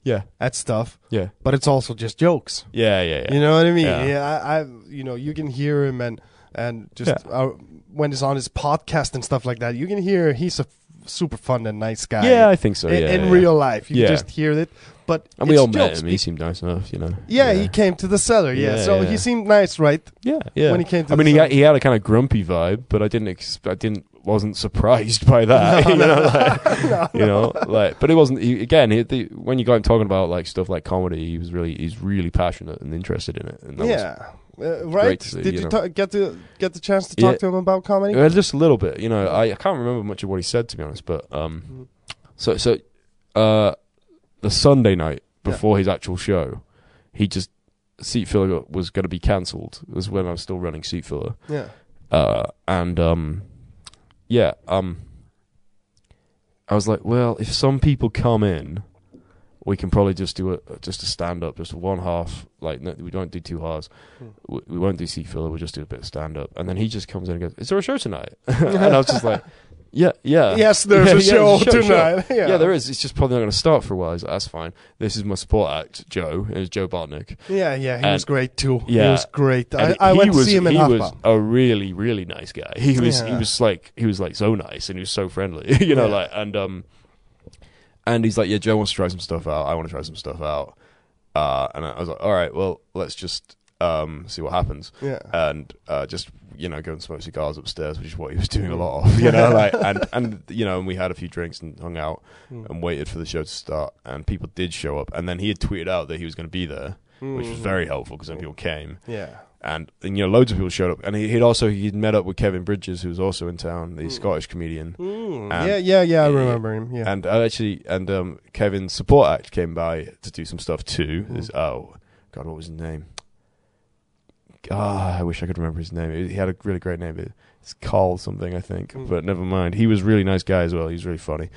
Yeah. at stuff, Yeah. but it's also just jokes. Yeah. Yeah. You Yeah. know what I mean? Yeah. Yeah, I, I, you know, you can hear him and and just Yeah. uh, when he's on his podcast and stuff like that, you can hear he's a f- super fun and nice guy. yeah. I think so. in, Yeah. in yeah. real life, you Yeah. just hear it. But And we it's all met jokes. him. He seemed nice enough. You know. yeah, he came to the cellar. Yeah, Yeah, so yeah. he seemed nice, right? Yeah, yeah. when he came to the I mean, he show. had, he had a kind of grumpy vibe, but I didn't. Ex- I didn't. Wasn't surprised by that. *laughs* *laughs* you, know, like, you know, like. But it wasn't. He, again, he, the, when you got him talking about like stuff like comedy, he was really, he's really passionate and interested in it. And that yeah, uh, right. great to see, Did you you, know. ta- get to get the chance to talk Yeah. to him about comedy? was, uh, just a little bit. You know, I, I can't remember much of what he said to be honest. But Mm-hmm. um, so so, uh, the Sunday night Yeah. before his actual show, he just seat filler was going to be cancelled. It was when I was still running seat filler. yeah, uh, and um, yeah, um, I was like, well, if some people come in, we can probably just do a just a stand up, just one half. Like no, we don't do two halves. Hmm. We, we won't do seat filler. We'll just do a bit of stand up. And then he just comes in and goes, "Is there a show tonight?" *laughs* and I was just like, "Yeah, yeah, yes, there's *laughs* Yeah, a yeah, show sure, sure. tonight. *laughs* Yeah. yeah. there is. It's just probably not going to start for a while. He's like, That's fine. This is my support act, Joe. It's Joe Bartnick. Yeah, yeah, he was And- great too. he yeah. was great. I, And I he went to was- see him in He Half was a really, really nice guy. He was, he Yeah. was like, he was like so nice, and he was so friendly, *laughs* you know, Yeah. like, and um, and he's like, yeah, Joe wants to try some stuff out. I want to try some stuff out. Uh, and I was like, all right, well, let's just um see what happens, Yeah, and uh, just you know go and smoke cigars upstairs, which is what he was doing a lot of, *laughs* you know, like, and and you know, and we had a few drinks and hung out Mm. and waited for the show to start, and people did show up, and then he had tweeted out that he was going to be there, which was Mhm. very helpful because then people came yeah, and, and you know loads of people showed up and he, he'd also he'd met up with kevin bridges who was also in town the scottish comedian Mm, Hmm. And- yeah, yeah, yeah. I Yeah. remember him. Yeah, and uh, actually and um, kevin's support act came by to do some stuff too There's- oh god what was his name Ah, I wish I could remember his name. He had a really great name. It's Carl something, I think. Mm. But never mind. He was a really nice guy as well. He was really funny,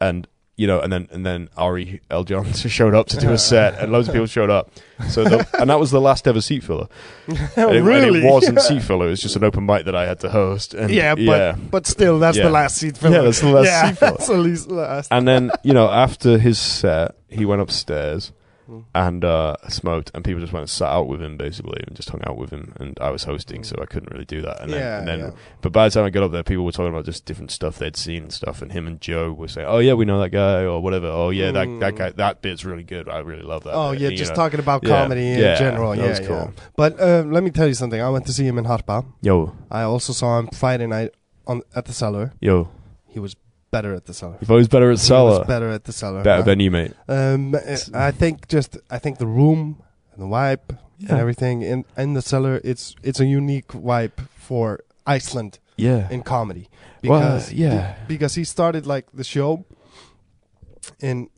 and you know, and then and then Ari L. Jones *laughs* showed up to do a set, and loads of people showed up. So the, and that was the last ever seat filler. *laughs* And it, and really. it wasn't yeah. seat filler. It was just an open mic that I had to host. And Yeah, but yeah. but still, that's Yeah. the last seat filler. Yeah, that's the last yeah, seat filler. *laughs* That's the least last. and then you know, after his set, he went upstairs Mm. and uh, smoked, and people just went and sat out with him basically, and just hung out with him. And I was hosting, so I couldn't really do that. And then, Yeah, and then uh, yeah. but by the time I got up there, people were talking about just different stuff they'd seen and stuff. And him and Joe were saying, "Oh yeah, we know that guy," or whatever. "Oh yeah, Mm. that that guy, that bit's really good. I really love that." Oh bit," yeah, you just know. talking about Yeah, comedy in yeah, general. that yeah, was cool. yeah. But uh, let me tell you something. I went to see him in Harpa. Yo, I also saw him Friday night on at the cellar. yo, He was better at the cellar. if I was better at He Salah, was better at the cellar. huh? better than you, mate. Um, I think just I think the room and the vibe Yeah. and everything in in the cellar. It's it's a unique vibe for Iceland Yeah, in comedy Well, uh, because yeah. be- because he started like the show and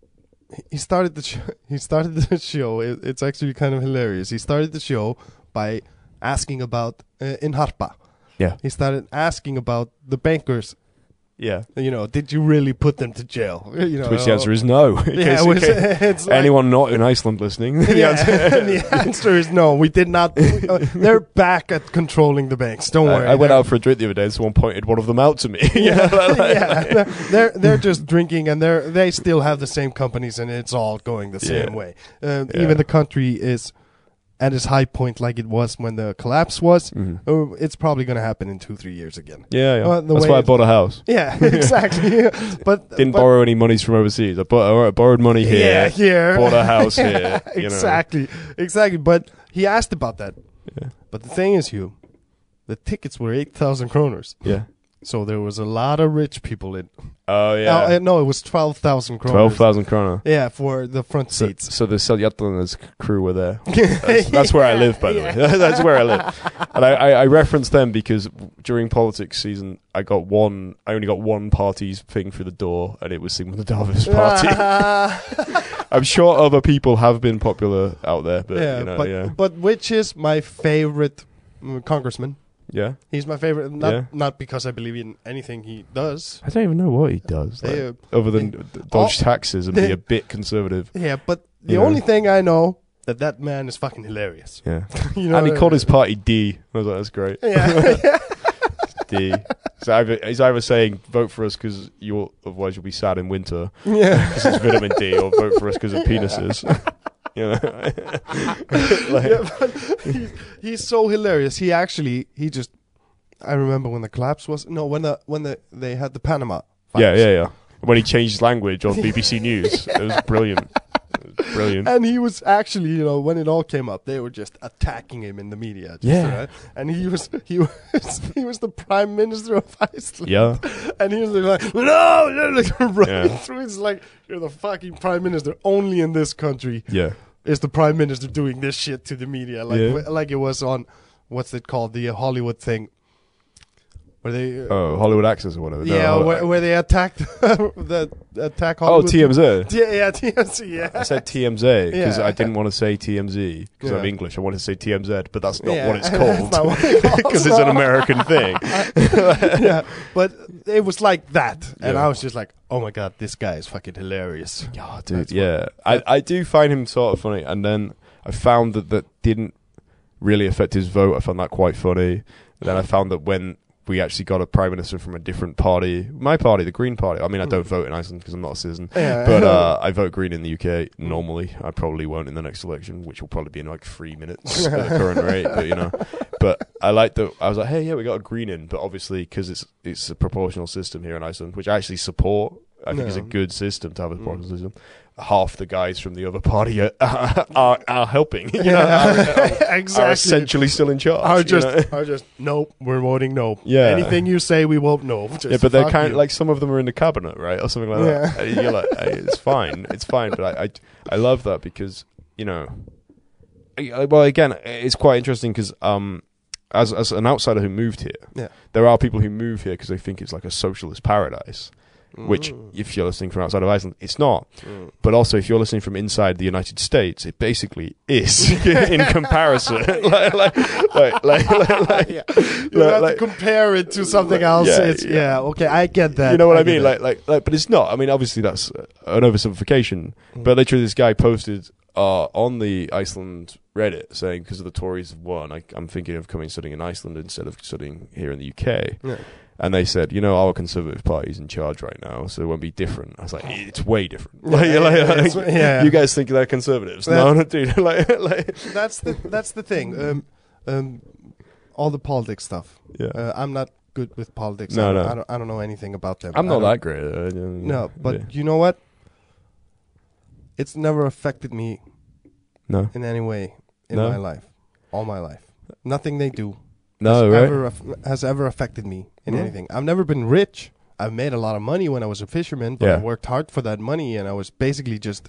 he started the show, *laughs* he started the show. It, it's actually kind of hilarious. He started the show by asking about uh, in Harpa. Yeah. He started asking about the bankers. yeah. You know, did you really put them to jail? *laughs* You know, To which the answer is no. *laughs* In yeah, case- it in was, *laughs* case- it's like- Anyone not in Iceland listening? *laughs* the yeah, answer- the answer is no. We did not. uh, they're back at controlling the banks. *laughs* Don't worry. I, I went They're- out for a drink the other day, and someone pointed one of them out to me. *laughs* You know, *laughs* like- like- yeah, they're, they're they're just drinking, and they're they still have the same companies, and it's all going the same Yeah. way. Um, Yeah. Even the country is at its high point, like it was when the collapse was. Mhm. Oh, It's probably going to happen in two three years again. *laughs* yeah, yeah. Well, the That's way why I it- bought a house. Yeah, *laughs* exactly. but Didn't but, borrow any monies from overseas. I, bought, I borrowed money Yeah, *laughs* here, here. bought a house *laughs* here. you know. exactly, exactly. But he asked about that. Yeah. But the thing is, Hugh, the tickets were eight thousand kroners. Yeah. So there was a lot of rich people in. Oh yeah. Yeah. Uh, no, it was twelve thousand kroners. Twelve thousand kroner. Yeah, for the front So, seats. so the Seljatlan's crew were there. *laughs* That's, that's where I live, by the way. *laughs* that's where I live. And I, I, I reference them because during politics season, I got one. I only got one party's thing through the door, and it was Sigmund *laughs* Davis party. I'm sure other people have been popular out there, but yeah, you know, but yeah, but which is my favorite mm, congressman? yeah. He's my favorite, not Yeah. not because I believe in anything he does. I don't even know what he does, like, They, Oh. uh, other than d- dodge taxes and be a bit conservative. yeah, but the Yeah. only thing I know that that man is fucking hilarious. *laughs* Yeah, You know and he what I called mean? *laughs* his party D. I was like, that's great. Yeah. *laughs* fifty. so either, he's either saying vote for us because you'll otherwise you'll be sad in winter Yeah. because it's vitamin D, or vote for us because of *laughs* penises. you know, Like, yeah, but he's, he's so hilarious. He actually, he just, I remember when the collapse was no, when the when the they had the Panama. files. yeah, yeah, yeah. When he changed his language on BBC News, it was brilliant. It was brilliant. And he was actually, you know, when it all came up, they were just attacking him in the media. Just, Yeah. uh, and he was he was *laughs* he was the prime minister of Iceland. Yeah. And he was like, no, no, *laughs* like running Yeah. through. It's like you're the fucking prime minister. Only in this country Yeah. is the prime minister doing this shit to the media, like Yeah. wh- like it was on what's it called the Hollywood thing, where they uh, Oh, Hollywood Access or whatever. No, yeah Hollywood where, Ac- where they attacked *laughs* the attack uh, oh, Hollywood. TMZ. Yeah, yeah, TMZ. I Yeah, said TMZ because Yeah. I didn't want to say TMZ because I'm Yeah. English. I wanted to say TMZ, but that's not Yeah, *laughs* what it's that's not *laughs* called what it's called. because it's an American thing. *laughs* yeah, but it was like that, and Yeah. I was just like, oh my god, this guy is fucking hilarious. Yeah, dude. That's yeah, I, I do find him sort of funny, and then I found that that didn't really affect his vote. I found that quite funny. And then I found that when we actually got a prime minister from a different party, my party, the Green Party. I mean, I don't vote in Iceland because I'm not a citizen, *laughs* Yeah. *laughs* but uh, I vote Green in the UK normally. I probably won't in the next election, which will probably be in like three minutes at *laughs* the current rate. But you know, but I like that. I was like, hey, yeah, we got a Green in, but obviously because it's it's a proportional system here in Iceland, which I actually support. I think is a Yeah. Mm. good system to have a proportional system. Half the guys from the other party are *laughs* are, are, are helping. *laughs* You know, are- are, are *laughs* exactly. essentially still in charge. I you just, know? I just, nope. We're voting no. Yeah. anything you say, we won't know. Just yeah, but they're fuck kind of you. like some of them are in the cabinet, right, or something like that. Yeah. And You're like, "Hey, it's fine, it's fine. But I, I, I love that because you know, I- I- well, again, it's quite interesting because um, as as an outsider who moved here, Yeah. there are people who move here because they think it's like a socialist paradise. Which, if you're listening from outside of Iceland, it's not. Mm. But also, if you're listening from inside the United States, it basically *laughs* is *laughs* in comparison. *laughs* like, like, like, like, like, like, yeah. You like- have to like- compare it to something like- else. yeah, it's, yeah. yeah. okay, I get that. You know what I, get mean? that. Like, like, like, but it's not. I mean, obviously that's uh, an oversimplification. Mm. But literally, this guy posted uh, on the Iceland Reddit saying, "Because of the Tories have won, I, I'm thinking of coming and studying in Iceland instead of studying here in the UK." Yeah. And they said, "You know, our Conservative Party's in charge right now, so it won't be different." I was like, "It's way different." Like, Oh. Yeah, like- yeah, like, it's- yeah. you guys think they're conservatives? No, no, dude. *laughs* like, like, that's the that's the thing. Um, um, all the politics stuff. yeah. Uh, I'm not good with politics. No, I, no. I don't, I don't know anything about them. I'm I not don't- that great. at it. No, but Yeah. you know what? It's never affected me no, in any way in No? my life, all my life. Nothing they do no, has, right? ever, aff- has ever affected me in No. anything. I've never been rich. I've made a lot of money when I was a fisherman, but I Yeah. worked hard for that money, and I was basically just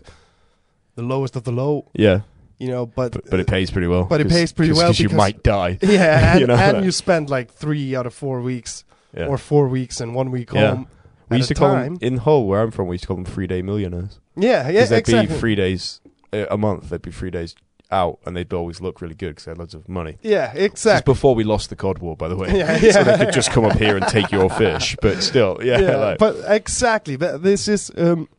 the lowest of the low, yeah, you know. But but, but it pays pretty well. But it 'cause- pays pretty 'cause- well 'cause you because- might die. *laughs* *laughs* yeah, and, You know, and like- you spend like three out of four weeks, Yeah. or four weeks and one week Yeah. home. We at used a to call time. them in Hull, where I'm from. We used to call them three day millionaires yeah, yeah, because they'd exactly. be three days uh, a month. They'd be three days out, and they'd always look really good because they had loads of money. Yeah, It's exactly. before we lost the cod war, by the *laughs* way, Yeah, *laughs* so they yeah. could just come up here and take your fish. But still, *laughs* yeah, yeah, like, but exactly. But this is um,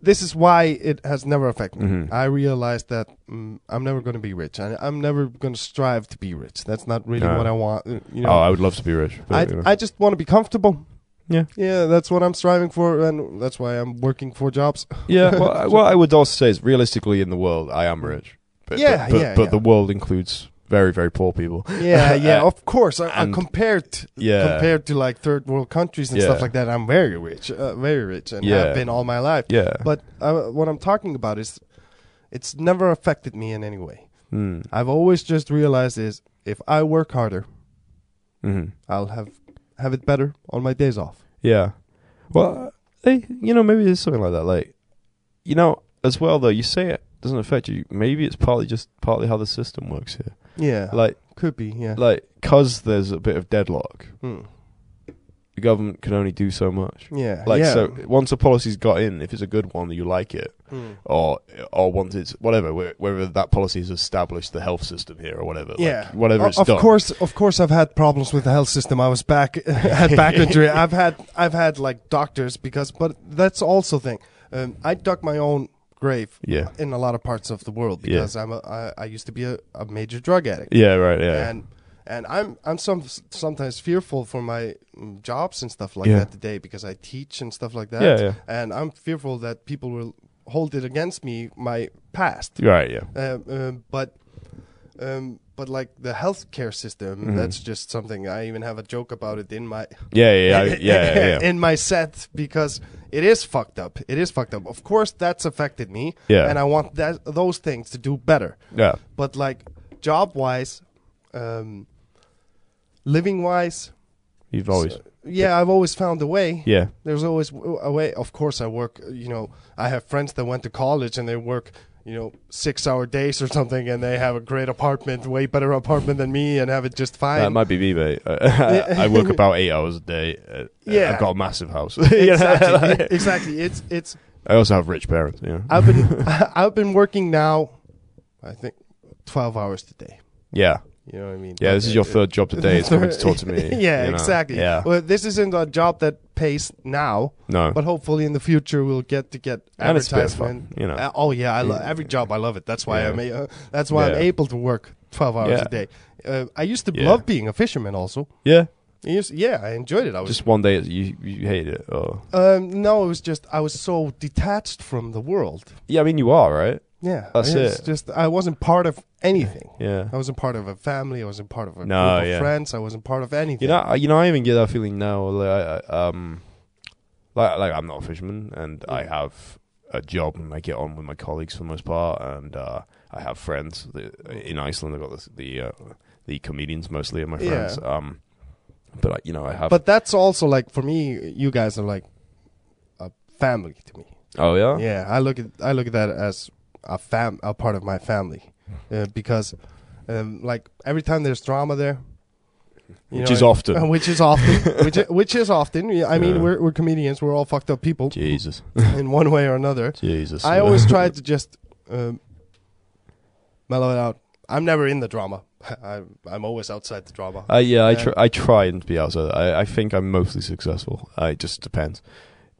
this is why it has never affected me. Mhm. I realized that mm, I'm never going to be rich. I, I'm never going to strive to be rich. That's not really No. what I want. uh, You oh, know, I would love to be rich. But, I you know. I just want to be comfortable. Yeah. yeah, that's what I'm striving for, and that's why I'm working four *laughs* jobs. yeah. Well, I- what I would also say is, realistically, in the world, I am rich. But, Yeah, but, but, yeah, But yeah. the world includes very, very poor people. Yeah, yeah, Uh, of course. I, I and- compared, Yeah. compared to like third world countries and Yeah. stuff like that, I'm very rich, uh, very rich, and Yeah. have been all my life. *laughs* Yeah. But uh, what I'm talking about is, it's never affected me in any way. Mm. I've always just realized is if I work harder, Mhm. I'll have have it better on my days off. Yeah. Well, hey, you know, maybe it's something like that. Like, you know, as well though, you say it doesn't affect you. Maybe it's partly just partly how the system works here. Yeah, Like, could be. Yeah. like, cause there's a bit of deadlock. Mm. The government can only do so much. Yeah. Like, yeah. so once a policy's got in, if it's a good one, you like it, Mm. or or once it's whatever, wh- whether that policy has established the health system here or whatever. like, Yeah. whatever O- it's of done. course, of course, I've had problems with the health system. I was back *laughs* *laughs* had back injury. I've had I've had like doctors because, but that's also thing. Um, I dug my own grave Yeah. in a lot of parts of the world Yeah. because I'm a, I, I used to be a, a major drug addict Yeah. Right. Yeah. and and I'm I'm some sometimes fearful for my mm, jobs and stuff like Yeah. that today because I teach and stuff like that. Yeah, yeah. And I'm fearful that people will hold it against me my past. Right, yeah. Um, um, but um, but like the healthcare system, Mhm. that's just something I even have a joke about it in my Yeah, yeah, yeah, yeah, yeah, *laughs* yeah. in my set because it is fucked up. It is fucked up. Of course, that's affected me. Yeah. And I want that those things to do better. yeah. But like job wise, um, living wise, You've always, yeah, I've always found a way. yeah, There's always w- a way. Of course, I work. uh, You know, I have friends that went to college and they work. You know, six-hour days or something, and they have a great apartment, way better apartment than me, and have it just fine. that might be me, mate. *laughs* I *laughs* work about eight hours a day. uh, Yeah. I've got a massive house. *laughs* exactly, it- *laughs* exactly. It's it's I also have rich parents. Yeah, I've been *laughs* I've been working now, I think, twelve hours today. yeah, You know what I mean? yeah. This is your third job today. It's coming to talk to me. *laughs* yeah, you know? exactly. Yeah, Well, this isn't a job that pays now, no, but hopefully in the future we'll get to get And it's a bit of fun, advertisement. you know. Uh, oh yeah, I love every job. I love it. That's why Yeah. I'm. a- Uh, that's why I'm Yeah. able to work twelve hours Yeah. a day. Uh, I used to Yeah. love being a fisherman. Also, yeah. I used, yeah, I enjoyed it. I was. Just one day, you you hate it. Or um, no, it was just I was so detached from the world. yeah, I mean you are right. Yeah, That's it's it. Just I wasn't part of anything. Yeah. I wasn't part of a family. I wasn't part of a No, group of yeah. friends. I wasn't part of anything. You know, I- you know, I even get that feeling now. Like, I- I, um, like, like I'm not a fisherman, and I Mm. have a job, and I get on with my colleagues for the most part, and uh, I have friends that, in Iceland. I've got this, the uh, the comedians mostly are my Yeah. friends. Um, but I, you know, I have. but that's also like for me, you guys are like a family to me. oh yeah, Yeah, I look at I look at that as a fam, a part of my family, Hmm. uh, because um, like every time there's drama there. you Which know, is often. uh, which is often, *laughs* *laughs* which, i- which is often. Yeah, I mean, Yeah. we're, we're comedians. We're all fucked up *laughs* people Jesus, in one way or another. Jesus. I always *laughs* try to just um, mellow it out. I'm never in the drama. *laughs* I'm, I'm always outside the drama. Uh, yeah, I Yeah. try. I try and be outside. I, I think I'm mostly successful. Uh, it just depends.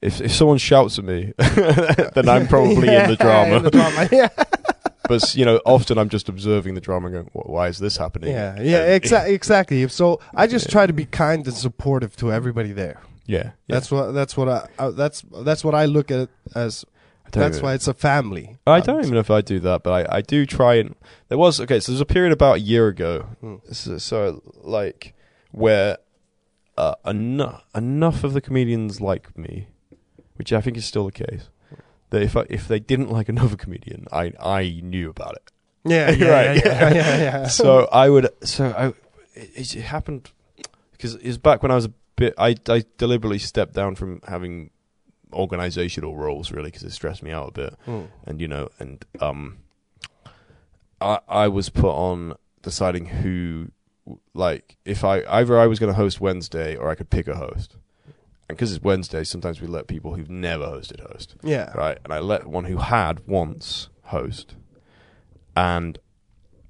If if someone shouts at me, *laughs* then *laughs* I'm probably in the drama. in the *laughs* drama. Yeah, but you know, often I'm just observing the drama and going, "Wh- "Why is this happening?" yeah, yeah exa- exactly. So I just try to be kind and supportive to everybody there. *laughs* yeah. That's what that's what I uh, that's that's what I look at it as. I don't That's even- why it's a family. Oh, Um, I don't even know if I do that, but I, I do try and there was okay. So there's a period about a year ago, Hmm. so, so like where uh, enough enough of the comedians like me, which I think is still the case. That if I, if they didn't like another comedian, I I knew about it. *laughs* Yeah, yeah, Right. yeah, yeah, yeah, yeah. *laughs* so I would. So I. It, it happened because it was back when I was a bit. I I deliberately stepped down from having organizational roles really because it stressed me out a bit, Mm. and you know, and um, I I was put on deciding who like if I either I was going to host Wednesday or I could pick a host. And because it's Wednesday, sometimes we let people who've never hosted host yeah, right? And I let one who had once host, and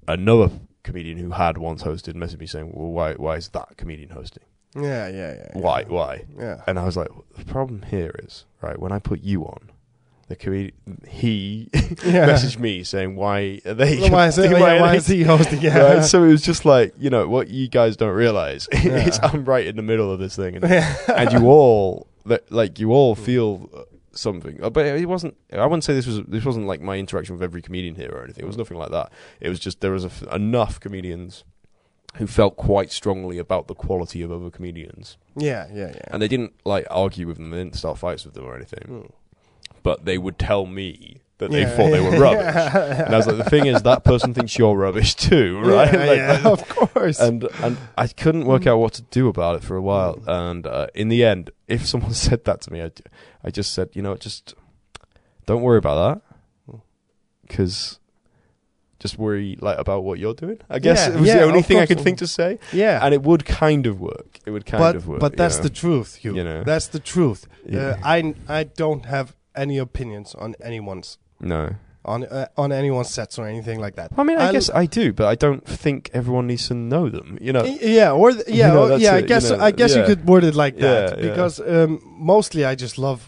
another comedian who had once hosted messaged me saying, "Well, why why is that comedian hosting? yeah, yeah, yeah. yeah. Why *laughs* why?" Yeah, And I was like, "The problem here is right when I put you on." The comedian, he *laughs* yeah. messaged me saying, "Why are *laughs* they? Why is, it, *laughs* why yeah, are why they- is he hosting? Yeah, Right? So it was just like, you know, what you guys don't realize *laughs* is Yeah. I'm right in the middle of this *laughs* thing, *laughs* and, Yeah. *laughs* and you all that like you Hmm. all feel uh, something. Uh, But it wasn't. I wouldn't say this was this wasn't like my interaction with every comedian here or anything. It was nothing like that. It was just there was a f enough comedians who felt quite strongly about the quality of other comedians, yeah, yeah, yeah. and they didn't like argue with them. They didn't start fights with them or anything. Mm. But they would tell me that they Yeah. thought they *laughs* were rubbish. Yeah. And I was like, *laughs* the thing is, that person thinks you're rubbish too, *laughs* right? Yeah, Like, yeah, like- of course. *laughs* and and I couldn't work out what to do about it for a while. And uh, in the end, if someone *laughs* said that to me, I, I just said, you know, just don't worry about that, because just worry like about what you're doing. I guess Yeah, it was yeah, the only of thing I course. could think to say, yeah, and it would kind of work. It would kind but of work. but you that's know. the truth, Hugh. You know. That's the truth. Yeah. Uh, I I don't have any opinions on anyone's no. on uh, on anyone's sets or anything like that. I mean, I, I'll- guess I do, but I don't think everyone needs to know them. You know. Y- Uh, yeah, or th- yeah, You know, or- that's yeah. I it, you guess know, I guess you yeah. could word it like Yeah, that yeah. because um, mostly I just love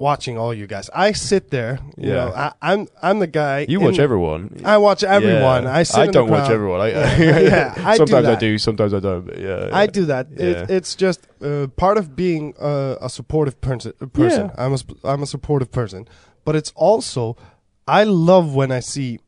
watching all you guys. I sit there, you Yeah. know, I, I'm I'm the guy. You in- watch everyone. I watch Uh, everyone. Yeah. I sit. I in the don't watch crowd. everyone. I, uh, *laughs* Yeah, I do sometimes I that. do, sometimes I don't. But yeah, I do that. It, Yeah. it's just uh, part of being uh, a supportive person. Person. Yeah. I'm a sp- I'm a supportive person, but it's also I love when I see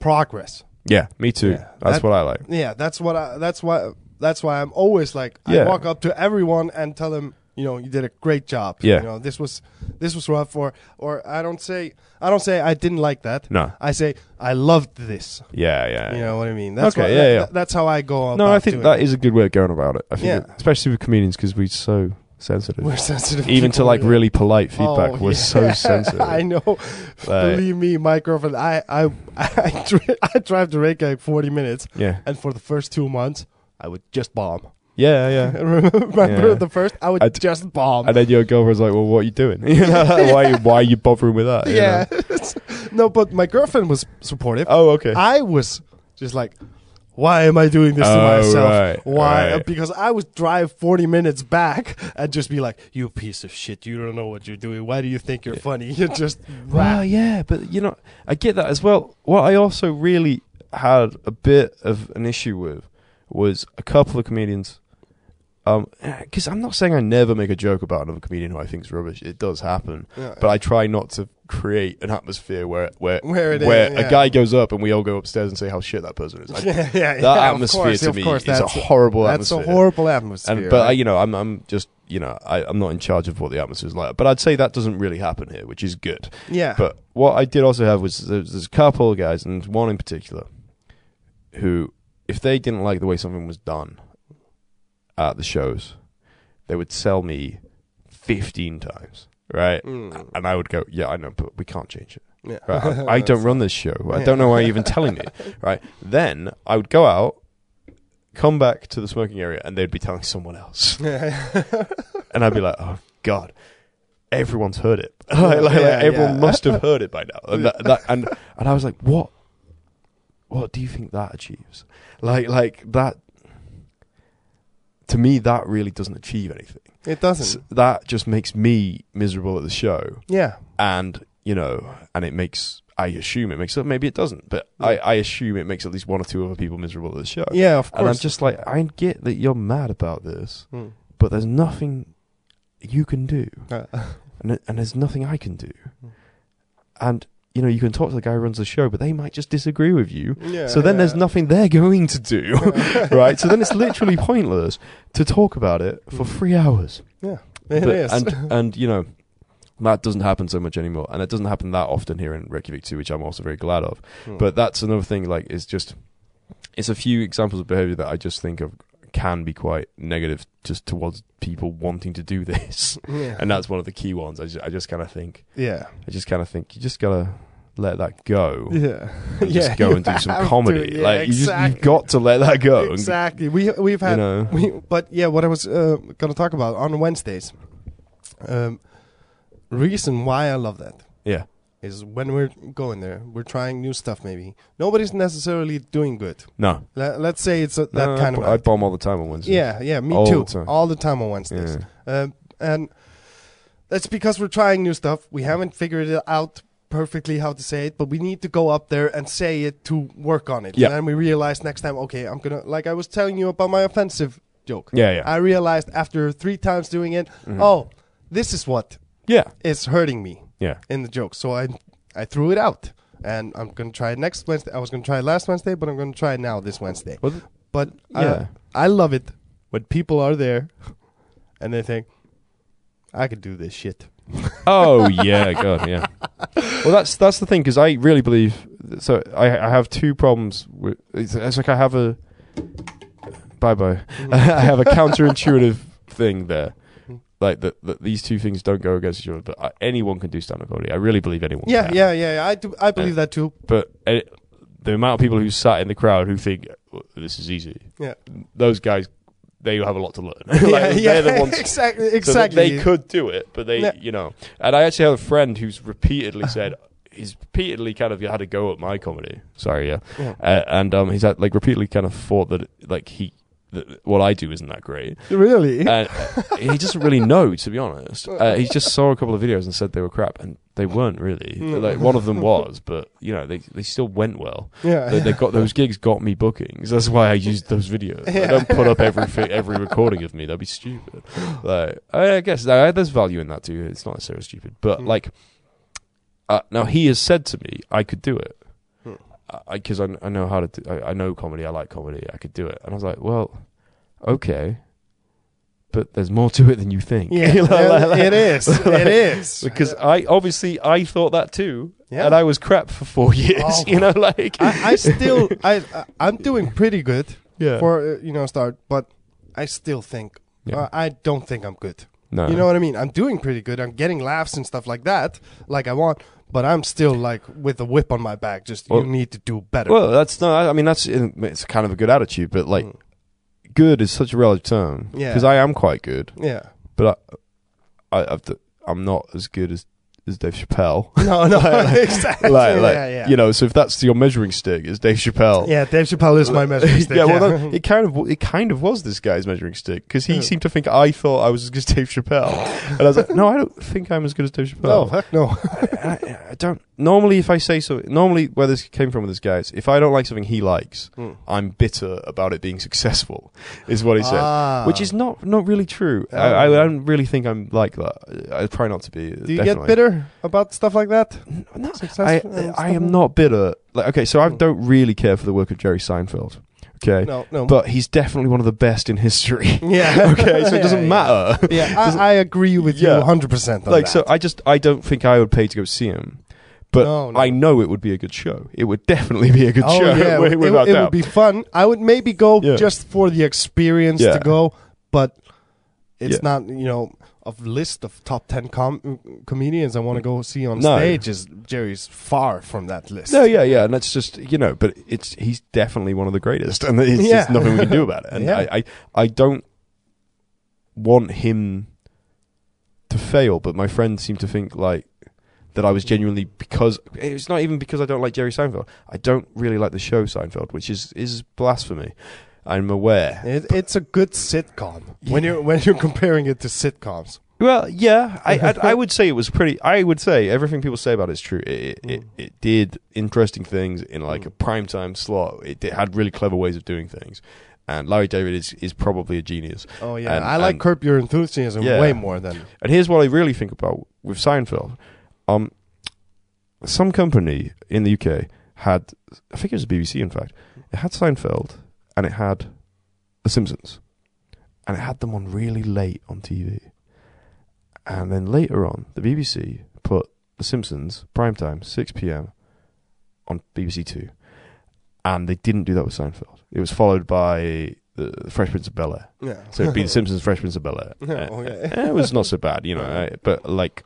progress. Yeah, me too. Yeah, That's that- what I like. Yeah, that's what I. That's why. That's why I'm always like Yeah. I walk up to everyone and tell them, you know, you did a great job. Yeah. You know, this was this was rough. Or or I don't say I don't say I didn't like that. No. I say I loved this. Yeah, yeah. You know what I mean? That's Okay, what- yeah, that- yeah. that- that's how I go. no, about I think doing that it. is a good way of going about it. I think, Yeah. it- especially with comedians, because we're so *laughs* sensitive. we're sensitive. Even to people, like yeah. really polite feedback, Oh, we're yeah. so *laughs* sensitive. I know. Believe me, my girlfriend. I I *laughs* I, dri- I drive to Reykjavik 40 minutes, yeah, and for the first two months, I would just bomb. *laughs* yeah, yeah. Remember Yeah. the first? I would I d- just bomb. *laughs* And then your girlfriend's like, "Well, what are you doing? *laughs* You know, why, why are you bothering with that? You yeah. know? *laughs* no, but my girlfriend was supportive. Oh, okay. I was just like, why am I doing this to Oh, myself? right, Why? right. Because I would drive 40 minutes back and just be like, you piece of shit. You don't know what you're doing. Why do you think you're funny? *laughs* You're just Well, rap. yeah, but you know, I get that as well. What I also really had a bit of an issue with was a couple of comedians. Um, *sighs* because I'm not saying I never make a joke about another comedian who I think is rubbish. It does happen, Yeah. but I try not to create an atmosphere where where Where it is, a yeah. guy goes up and we all go upstairs and say how shit that *laughs* person is. I, *laughs* yeah, yeah, that yeah, of atmosphere course, to of me course, is a that's, horrible that's atmosphere. a horrible atmosphere. And, but I, right? you know, I'm I'm just you know I, I'm not in charge of what the atmosphere is like. But I'd say that doesn't really happen here, which is good. yeah, But what I did also have was there's, there's a couple of guys, and one in particular, who, if they didn't like the way something was done at the shows, they would sell me 15 times, right? Mm. And I would go, yeah, I know, but we can't change it. yeah. *laughs* Right? I, I don't run this show. I Yeah. don't know why you're even telling me, right? Then I would go out, come back to the smoking area, and they'd be telling someone else. And I'd be like, oh, God, everyone's heard it. *laughs* like, like, like, Yeah, everyone yeah. must have heard it by now. And, that, that, *laughs* and, and I was like, what? What do you think that achieves? Like, like that, to me, that really doesn't achieve anything. it doesn't. S- that just makes me miserable at the show. yeah, And, you know, and it makes, I assume it makes, maybe it doesn't, but I, I assume it makes at least one or two other people miserable at the show. yeah, of course. and I'm just like, I get that you're mad about this *laughs* Mm. but there's nothing you can do, Uh, and and there's nothing I can do, Hmm. and you know you can talk to the guy who runs the show, but they might just disagree with you. yeah, So then yeah. there's nothing they're going *laughs* to do, right? So then it's literally pointless to talk about it for Hmm. three hours. Yeah, it is. But- *laughs* and and you know that doesn't happen so much anymore, and it doesn't happen that often here in Reykjavik too, which I'm also very glad of. Hmm. But that's another thing. Like it's just it's a few examples of behavior that I just think of can be quite negative just towards people wanting to do this, yeah, and that's one of the key ones. I just, I just kind of think yeah, I just kind of think you just gotta let *laughs* that go. yeah. And just Yeah, *laughs* go you and do have some to, comedy. yeah, like you just, exactly. you've got to let that go. and, Exactly. We we've you had know, we, but yeah, what I was uh, going to talk about on Wednesdays. Um, reason why I love that yeah, is when we're going there, we're trying new stuff. Maybe nobody's necessarily doing good. no, Let, let's say it's a, that No, kind of I, I bomb all the time on Wednesday. yeah, yeah. Me All too. the time. All the time on Wednesdays, um, and that's because we're trying new stuff. We haven't figured it out perfectly how to say it, but we need to go up there and say it to work on it. Yeah. And then we realize next time, okay, I'm gonna like I was telling you about my offensive joke. yeah, Mm-hmm. yeah, I realized after three times doing it, oh, this is what yeah, is hurting me yeah. in the joke. So I I threw it out, and I'm gonna try it next Wednesday. I was gonna try it last Wednesday, but I'm gonna try it now this Wednesday. Well, th- But Yeah. I, I love it when people are there, and they think I could do this shit. Oh yeah, God, yeah. Well, that's that's the thing because I really believe. So I I have two problems. With, it's, it's like I have a bye bye. I have a counterintuitive thing there, like that, that these two things don't go against each other. But I, anyone can do stand up comedy. I really believe anyone. *laughs* Yeah, can. yeah, yeah. yeah. I do. I believe that too. But uh the amount of people who sat in the crowd who think "Well, this is easy, Yeah, those guys, they have a lot to *laughs* learn. *laughs* *laughs* like, yeah, yeah. *laughs* They're the ones exactly, so that exactly. they could do it, but they, Yeah. you know. And I actually have a friend who's *laughs* repeatedly said, he's repeatedly kind of had a go at my comedy. Sorry, yeah. Yeah. Uh, and um, he's had, like repeatedly kind of thought that like he that what I do isn't that great. *laughs* *laughs* Really? And uh, he doesn't really know, to be honest. Uh, he just saw a couple of videos and said they were crap, and they weren't really. Mm. Like one of them was, but you know they they still went well. yeah. They, they got those gigs, got me bookings. That's why I used those videos. I Yeah. don't put up every *laughs* fi- every recording of me. That'd be stupid. Like I I guess uh, there's value in that too. It's not necessarily stupid, but Mm. like uh, now he has said to me, I could do it Hmm. because I, I know how to. Do, I, I know comedy. I like comedy. I could do it. And I was like, well, okay, but there's more to it than *laughs* you *laughs* think. yeah. Like- like- it is. *laughs* like- it is. Because I obviously I thought that too, Yeah. and I was crap for four *laughs* years. Oh, you know, like *laughs* I, I still, I, I, I'm doing pretty good yeah. for uh, you know start, but I still think Yeah. Uh-huh. uh, I don't think I'm good. no, You know what I mean? I'm doing pretty good. I'm getting laughs and stuff like that, like I want. But I'm still like with a whip on my back. Just Well- you need to do better. Well, that's no. I I mean, that's it's kind of a good attitude, but like, Mm. good is such a relative term. Yeah. Because I am quite good, yeah. *laughs* but I, I I've, d- I'm not as good as as Dave Chappelle. No, *laughs* no, exactly. like, like, *laughs* yeah, yeah. you know. So if that's your measuring stick, is Dave Chappelle. yeah, Dave Chappelle is *laughs* my measuring stick. yeah, well, that- it kind of it kind of was this guy's measuring stick because he Yeah. seemed to think I thought I was as good as Dave Chappelle, and I was like, no, I don't think I'm as good as Dave Chappelle. *laughs* no, heck *laughs* no. I, I- I don't normally if I say so. Normally, where this came from with this guy is if I don't like something he likes, Mm. I'm bitter about it being successful, is what he said, Ah. Um. which is not not really true. I, I, I don't really think I'm like that. I try not to be. Do you get bitter about stuff like that? No, I, Successful and I stuff? am not bitter. Like okay, so I Mm. don't really care for the work of Jerry Seinfeld. Okay, No, no. but he's definitely one of the best in history. *laughs* yeah. *laughs* okay, so it Yeah, doesn't yeah. matter. *laughs* Yeah, I, I agree with Yeah. you 100% on like that. so i just i don't think i would pay to go see him but No, no. i know it would be a good show it would definitely be a good oh, show *laughs* yeah. wi- it, without it would doubt be fun. I would maybe go Yeah. just for the experience Yeah. to go, but it's Yeah. not, you know, a list of top 10 com- comedians I want to go see on No. stage is Jerry's far from that list. no yeah yeah and that's just you know but it's he's definitely one of the greatest and it's Yeah. just nothing we can do about it and Yeah. I, I i don't want him to fail but my friends seem to think like that I was genuinely because it's not even because I don't like Jerry Seinfeld. I don't really like the show Seinfeld, which is is blasphemy. I'm aware. It, it's a good sitcom when you're when you're comparing it to sitcoms. Well, yeah, I, I I would say it was pretty. I would say everything people say about it is true. It it, it, it did interesting things in like a prime time slot. It, it had really clever ways of doing things, and Larry David is is probably a genius. Oh yeah, And- I like and- Curb Your Enthusiasm Yeah. way more than And here's what I really think about with Seinfeld. Um, some company in the UK had, I think it was the BBC, in fact, it had Seinfeld and it had The Simpsons, and it had them on really late on TV. And then later on, the BBC put The Simpsons prime time, six p.m. on BBC Two, and they didn't do that with Seinfeld. It was followed by the Fresh Prince of Bel Air. yeah. So it'd *laughs* be The Simpsons, Fresh Prince of Bel Air. Oh, Yeah, okay. it was not so bad, you know. I, but like,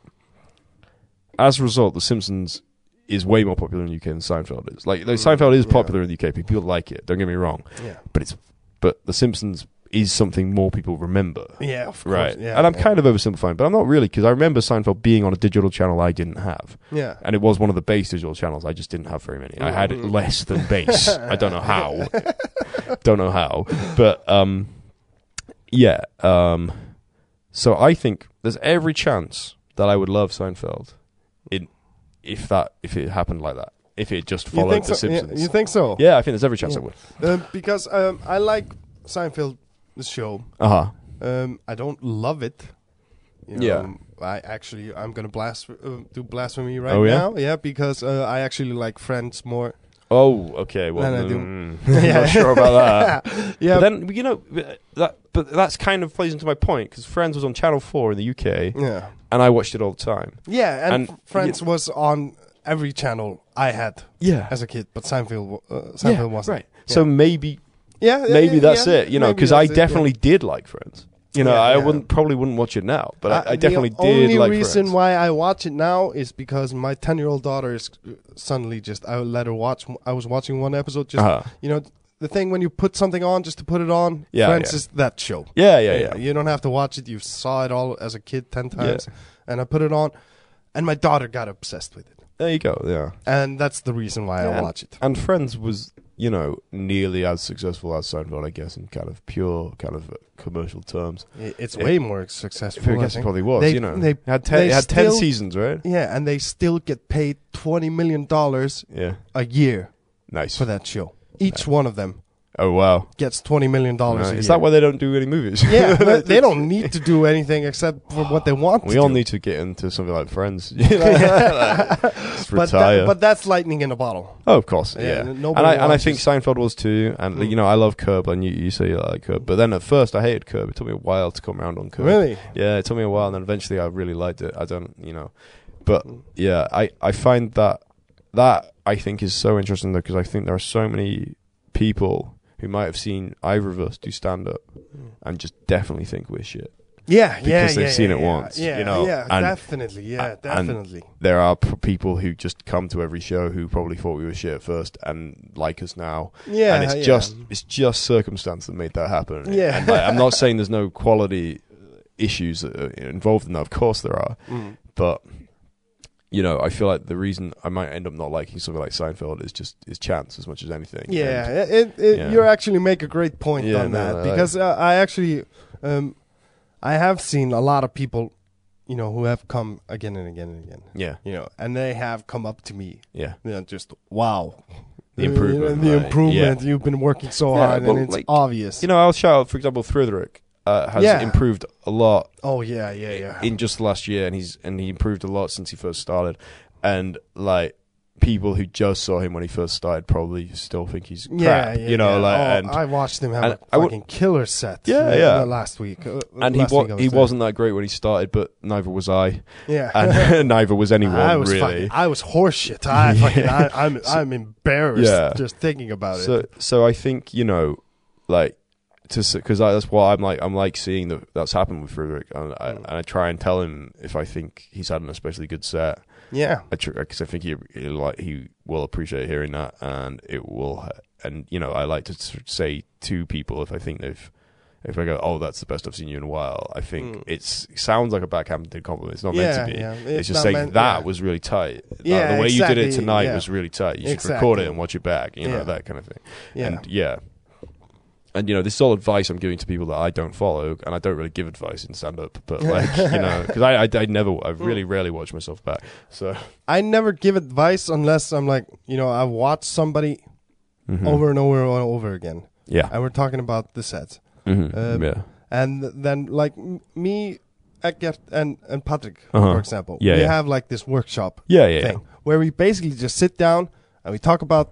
as a result, The Simpsons is way more popular in the UK than Seinfeld is. Like, though Mm, Seinfeld is yeah. popular in the UK. People like it. Don't get me wrong. yeah, But it's but The Simpsons is something more people remember. yeah, of course. Right, Yeah, and I'm yeah. kind of oversimplifying, but I'm not really because I remember Seinfeld being on a digital channel I didn't have, yeah. and it was one of the base digital channels. I just didn't have very many. I had Mm. less than base. I don't *laughs* know how. don't know how. But um, yeah. Um, so I think there's every chance that I would love Seinfeld, in if that if it happened like that, if it just You followed think The so? Yeah, Simpsons. you think so? yeah, I think there's every chance Yeah. I would. Um, because um, I like Seinfeld, the show. Uh huh. Um, I don't love it. You know, Yeah. um, I actually I'm gonna blast uh, do blasphemy right Oh, yeah? now. Yeah, because uh, I actually like Friends more. Oh, okay. Well, Then I do. *laughs* mm, Yeah. not sure about *laughs* that. yeah, But then you know that, but that's kind of plays into my point because Friends was on Channel Four in the UK, yeah, and I watched it all the time. yeah. And, And- F- Friends was on every channel I had Yeah, as a kid, but Seinfeld wa- uh, Seinfeld wasn't. right. So maybe Yeah, yeah, maybe yeah, that's yeah. it, you know, Maybe because I that's it, yeah. definitely did like Friends. You know, Yeah, I yeah. wouldn't probably wouldn't watch it now, but Uh, I, I definitely the did only like reason Friends. why I watch it now is because my ten-year-old daughter is uh, suddenly just. I let her watch. I was watching one episode. Just Uh-huh. you know, the thing when you put something on just to put it on. Yeah, Friends yeah. is that show. Yeah, yeah, yeah. You don't have to watch it. You saw it all as a kid ten times, and I put it on, and my daughter got obsessed with it, There you go. Yeah, and that's the reason why Yeah. I watch it. and Friends was you know, nearly as successful as Seinfeld, I guess, in kind of pure, kind of uh, commercial terms. I- It's It- way more I successful. I guess it think. probably was. They- you know, they- it had ten, they it had ten still- seasons, right? Yeah, and they still get paid twenty million dollars Yeah, a year nice. for that show. Each one of them Oh wow, gets twenty million dollars. Right. a is year. that why they don't do any movies? *laughs* Yeah, they- they don't need to do anything except for what they want. we to all do. *laughs* need to get into something like Friends. *laughs* You know, like, just but, retire. that- but that's lightning in a bottle. oh, of course, yeah. n- And nobody I, and I watches- think Seinfeld was too, and like, Mm. you know I love Curb, and you, you say you like Curb, but then at first I hated Curb. It took me a while to come around on Curb. really. Yeah, it took me a while, and then eventually I really liked it. I don't, you know, but Mm. yeah, I I find that that I think is so interesting though because I think there are so many people who might have seen either of us do stand up and just definitely think we're shit. Yeah, yeah, Because they've yeah, seen yeah, it yeah, once, Yeah, you know, yeah, and- definitely. Yeah, and- definitely. There are p- people who just come to every show who probably thought we were shit at first and like us now. yeah, and it's yeah. Mm. just it's just circumstance that made that happen. Yeah. And, like, I'm *laughs* not saying there's no quality uh, issues that are involved in that. Of course there are, Mm. but you know, I feel like the reason I might end up not liking something like Seinfeld is just is chance as much as anything. Yeah, it, it, Yeah. you actually make a great point Yeah, on no, that I like- because uh, I actually, um, I have seen a lot of people, you know, who have come again and again and again, And- yeah, you know, and they have come up to me, yeah. you know, just wow, The You know, improvement, the right, improvement. You've been working so Yeah, hard, well, and it's like, obvious. You know, I'll shout out for example, Frederick uh, has Yeah. improved a lot oh yeah, yeah, yeah. in just the last year, and he's and he improved a lot since he first started, and like. People who just saw him when he first started probably still think he's crap, yeah, yeah, you know. yeah. Like, Oh, and I watched him have and a I would- fucking killer set. Yeah, the- yeah. the last week, uh, and he last wa- week I he there. wasn't that great when he started, but neither was I, *laughs* Yeah, *laughs* and *laughs* neither was anyone I was really. fucking, I was horseshit. I *laughs* Yeah. fucking, I, I'm, I'm embarrassed Yeah. just thinking about it. So, so I think you know, like, to because that's why I'm like I'm like seeing that that's happened with Frederick, and I, Mm. and I try and tell him if I think he's had an especially good set, yeah, because I, tr- 'cause I think he, he like he will appreciate hearing that, and it will, and you know I like to s- say to people if I think they've. If I go, oh, that's the best I've seen you in a while. I think Mm. it's it sounds like a backhanded compliment. It's not yeah, meant to be. yeah. It's, just not saying meant- that yeah. was really tight. That- Yeah, the way you did it exactly, tonight yeah. was really tight. You should record Exactly. it and watch it back. You know Yeah. that kind of thing. Yeah. And yeah. And you know, this is all advice I'm giving to people that I don't follow, and I don't really give advice in stand up. *laughs* But like, you know, because I, I, I never, I really rarely watch myself back. So I never give advice unless I'm like, you know, I watch somebody Mhm. over and over and over again, yeah, and we're talking about the sets, Mhm. um, yeah, and then like m- me, Eckert and and Patrick, Uh-huh. for example, Yeah, we yeah. have like this workshop yeah, yeah, yeah. thing where we basically just sit down and we talk about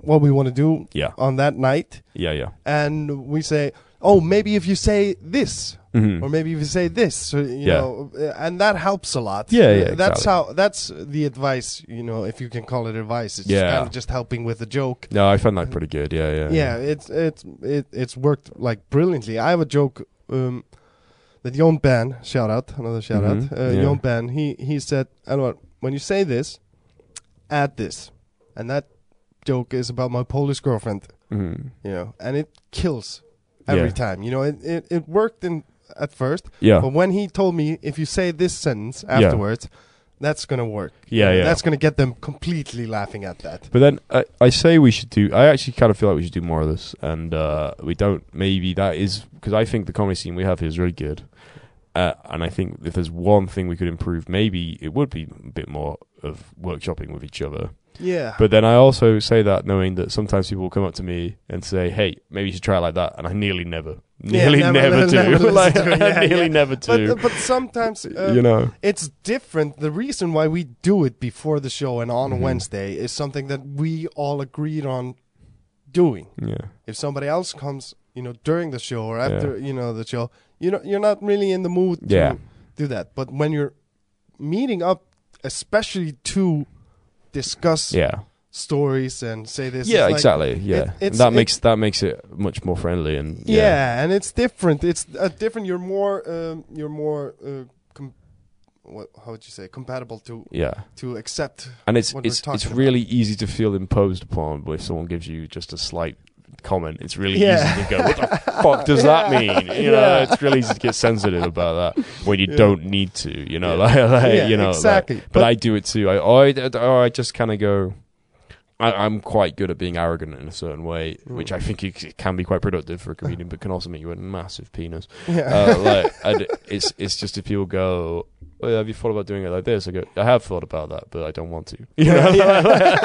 what we want to do Yeah. on that night yeah, yeah. and we say oh maybe if you say this Mhm. or maybe if you say this so, you Yeah. know uh, and that helps a lot Yeah, yeah, that's exactly. how that's the advice you know if you can call it advice it's Yeah. just kind of just helping with a joke No, I found that pretty good. Yeah, yeah, yeah it's it's it, it's worked like brilliantly i have a joke um that Jon Ben shout out another shout Mhm, out uh, yeah. Jon Ben he he said I don't know, when you say this add this and that joke is about my Polish girlfriend Mhm. you know and it kills Yeah. every time you know it, it it worked in at first yeah, but when he told me if you say this sentence afterwards that's going to work yeah, yeah. that's going to get them completely laughing at that But then I, I say we should do. I actually kind of feel like we should do more of this, and uh, we don't. Maybe that is because I think the comedy scene we have here is really good, uh, and I think if there's one thing we could improve, maybe it would be a bit more of workshopping with each other. yeah But then I also say that knowing that sometimes people will come up to me and say, "Hey, maybe you should try it like that," and I nearly never, Yeah, nearly never- never, never- do. *laughs* never listen like, to it. I *laughs* Yeah, nearly yeah. never but, do. but sometimes uh, you know, it's different. The reason why we do it before the show and on a Mhm. Wednesday is something that we all agreed on doing. yeah, If somebody else comes, you know, during the show or after, you know, the show, you know, you're not really in the mood to Yeah. do that. But when you're meeting up, especially to discuss yeah. stories and say this, it's yeah, like- exactly. Yeah, And it's- that it- makes that makes it much more friendly and Yeah. and it's different. It's uh, different. You're more, um, you're more, uh, com- what, how would you say, compatible to yeah. to accept And it's what we're it's it's talking about. really easy to feel imposed upon if someone gives you just a slight comment. It's really Yeah. easy to go, "What the fuck does *laughs* that mean?" You know, it's really easy to get sensitive about that when you Yeah. don't need to. You *laughs* know, Yeah. like, like, Yeah, you know, like- exactly. but, I do it too. I or I, or I just kind of go, I, I'm quite good at being arrogant in a certain way, Hmm. which I think it c- can be quite productive for a comedian, but can also make you a massive penis. *laughs* Yeah. Uh, like I d it's it's just if people go, oh, yeah, have you thought about doing it like this? I go, I have thought about that, but I don't want to. *laughs* You know?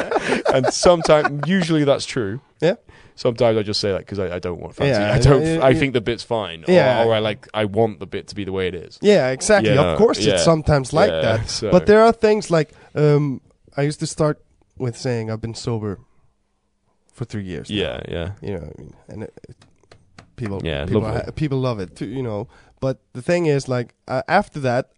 *laughs* and sometimes, usually that's true. Yeah. Sometimes I just say that because I, I don't want fancy. Yeah, I don't. yeah, I yeah. think the bit's fine. Yeah. Or, or I like. I want the bit to be the way it is. Yeah, exactly. Yeah, of course, it's yeah, sometimes like Yeah, *laughs* that. so- But there are things like um, I used to start with saying I've been sober for three years. now." Yeah. Yeah. you know, what I mean, and it, it- people, Yeah, people, lovely. ha- people love it, too, you know. But the thing is, like uh, after that,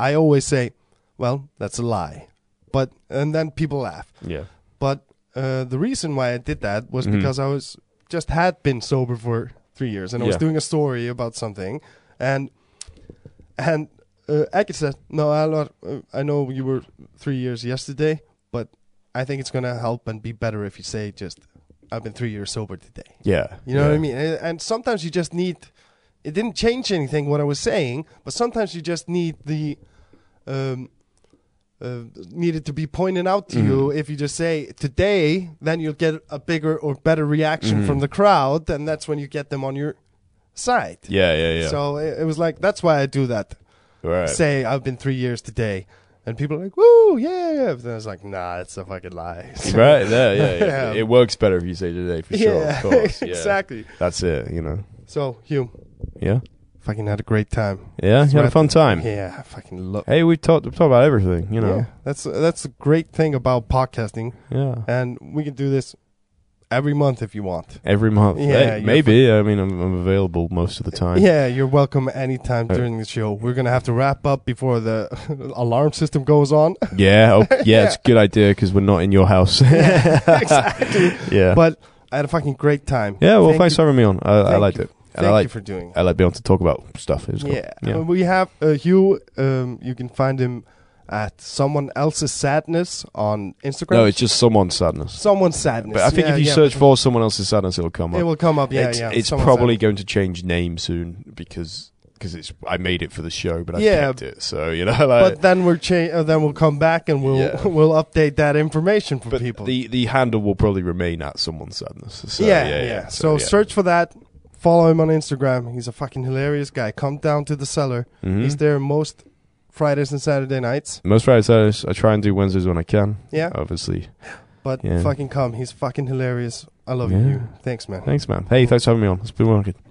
I always say, "Well, that's a lie," but and then people laugh. Yeah. But uh, the reason why I did that was Mhm. because I was just had been sober for three years, and I was Yeah. doing a story about something, and and uh, Aki said, "No, Alvar, uh, I know you were three years yesterday, but I think it's gonna help and be better if you say just." I've been three years sober today. Yeah. You know what yeah. I mean? And and sometimes you just need. It didn't change anything what I was saying, but sometimes you just need the. Um, uh, needed to be pointed out Mm-hmm. to you if you just say today then you'll get a bigger or better reaction Mm-hmm. from the crowd and that's when you get them on your side Yeah. Yeah. Yeah. so it, it was like that's why i do that right. say i've been three years today and people are like woo yeah yeah but then it's like nah it's a fucking lie *laughs* right there, yeah, Yeah. yeah. It works better if you say today for sure. yeah *laughs* of course, yeah. exactly That's it. You know. so Hume Yeah. fucking had a great time Yeah. You had a right. fun time. Yeah, I fucking love. Hey, we talked we talked about everything. You know. that's that's a great thing about podcasting, Yeah. and we can do this every month if you want. Every month. Yeah, Hey, you're maybe. I mean, I'm, I'm available most of the time. Yeah, you're welcome anytime Uh, during the show. We're gonna have to wrap up before the *laughs* alarm system goes on. *laughs* *laughs* *laughs* Yeah. Oh, yeah, It's a good idea because we're not in your house. *laughs* yeah. exactly. But I had a fucking great time. yeah. Well, Thank thanks you- for having me on. I, I thank liked you- it. And Thank I you like. for doing. it. I like being able to talk about stuff. It was cool. Yeah. Yeah. Uh, we have uh, Hugh. Um, you can find him at someone else's sadness on Instagram. No, it's just someone's sadness. someone's sadness. But I think Yeah, if you yeah. search for someone else's sadness, it'll come up. it will come up. Yeah, it's yeah. it's Someone's probably Sadness. going to change name soon because because it's I made it for the show, but I Yeah. kept it. So you know, *laughs* like, but then we're cha- uh, then we'll come back and we'll Yeah. *laughs* we'll update that information for but people. the the handle will probably remain at someone's sadness. So, yeah, yeah, So, yeah. search for that. Follow him on Instagram. He's a fucking hilarious guy. Come down to the cellar. Mhm. He's there most Fridays and Saturday nights. Most Friday Saturdays, I try and do Wednesdays when I can. Yeah. Obviously. But Oh, Yeah. fucking come. He's fucking hilarious. I love Yeah. you. Thanks, man. Thanks, man. Hey, thanks for having me on. It's been working.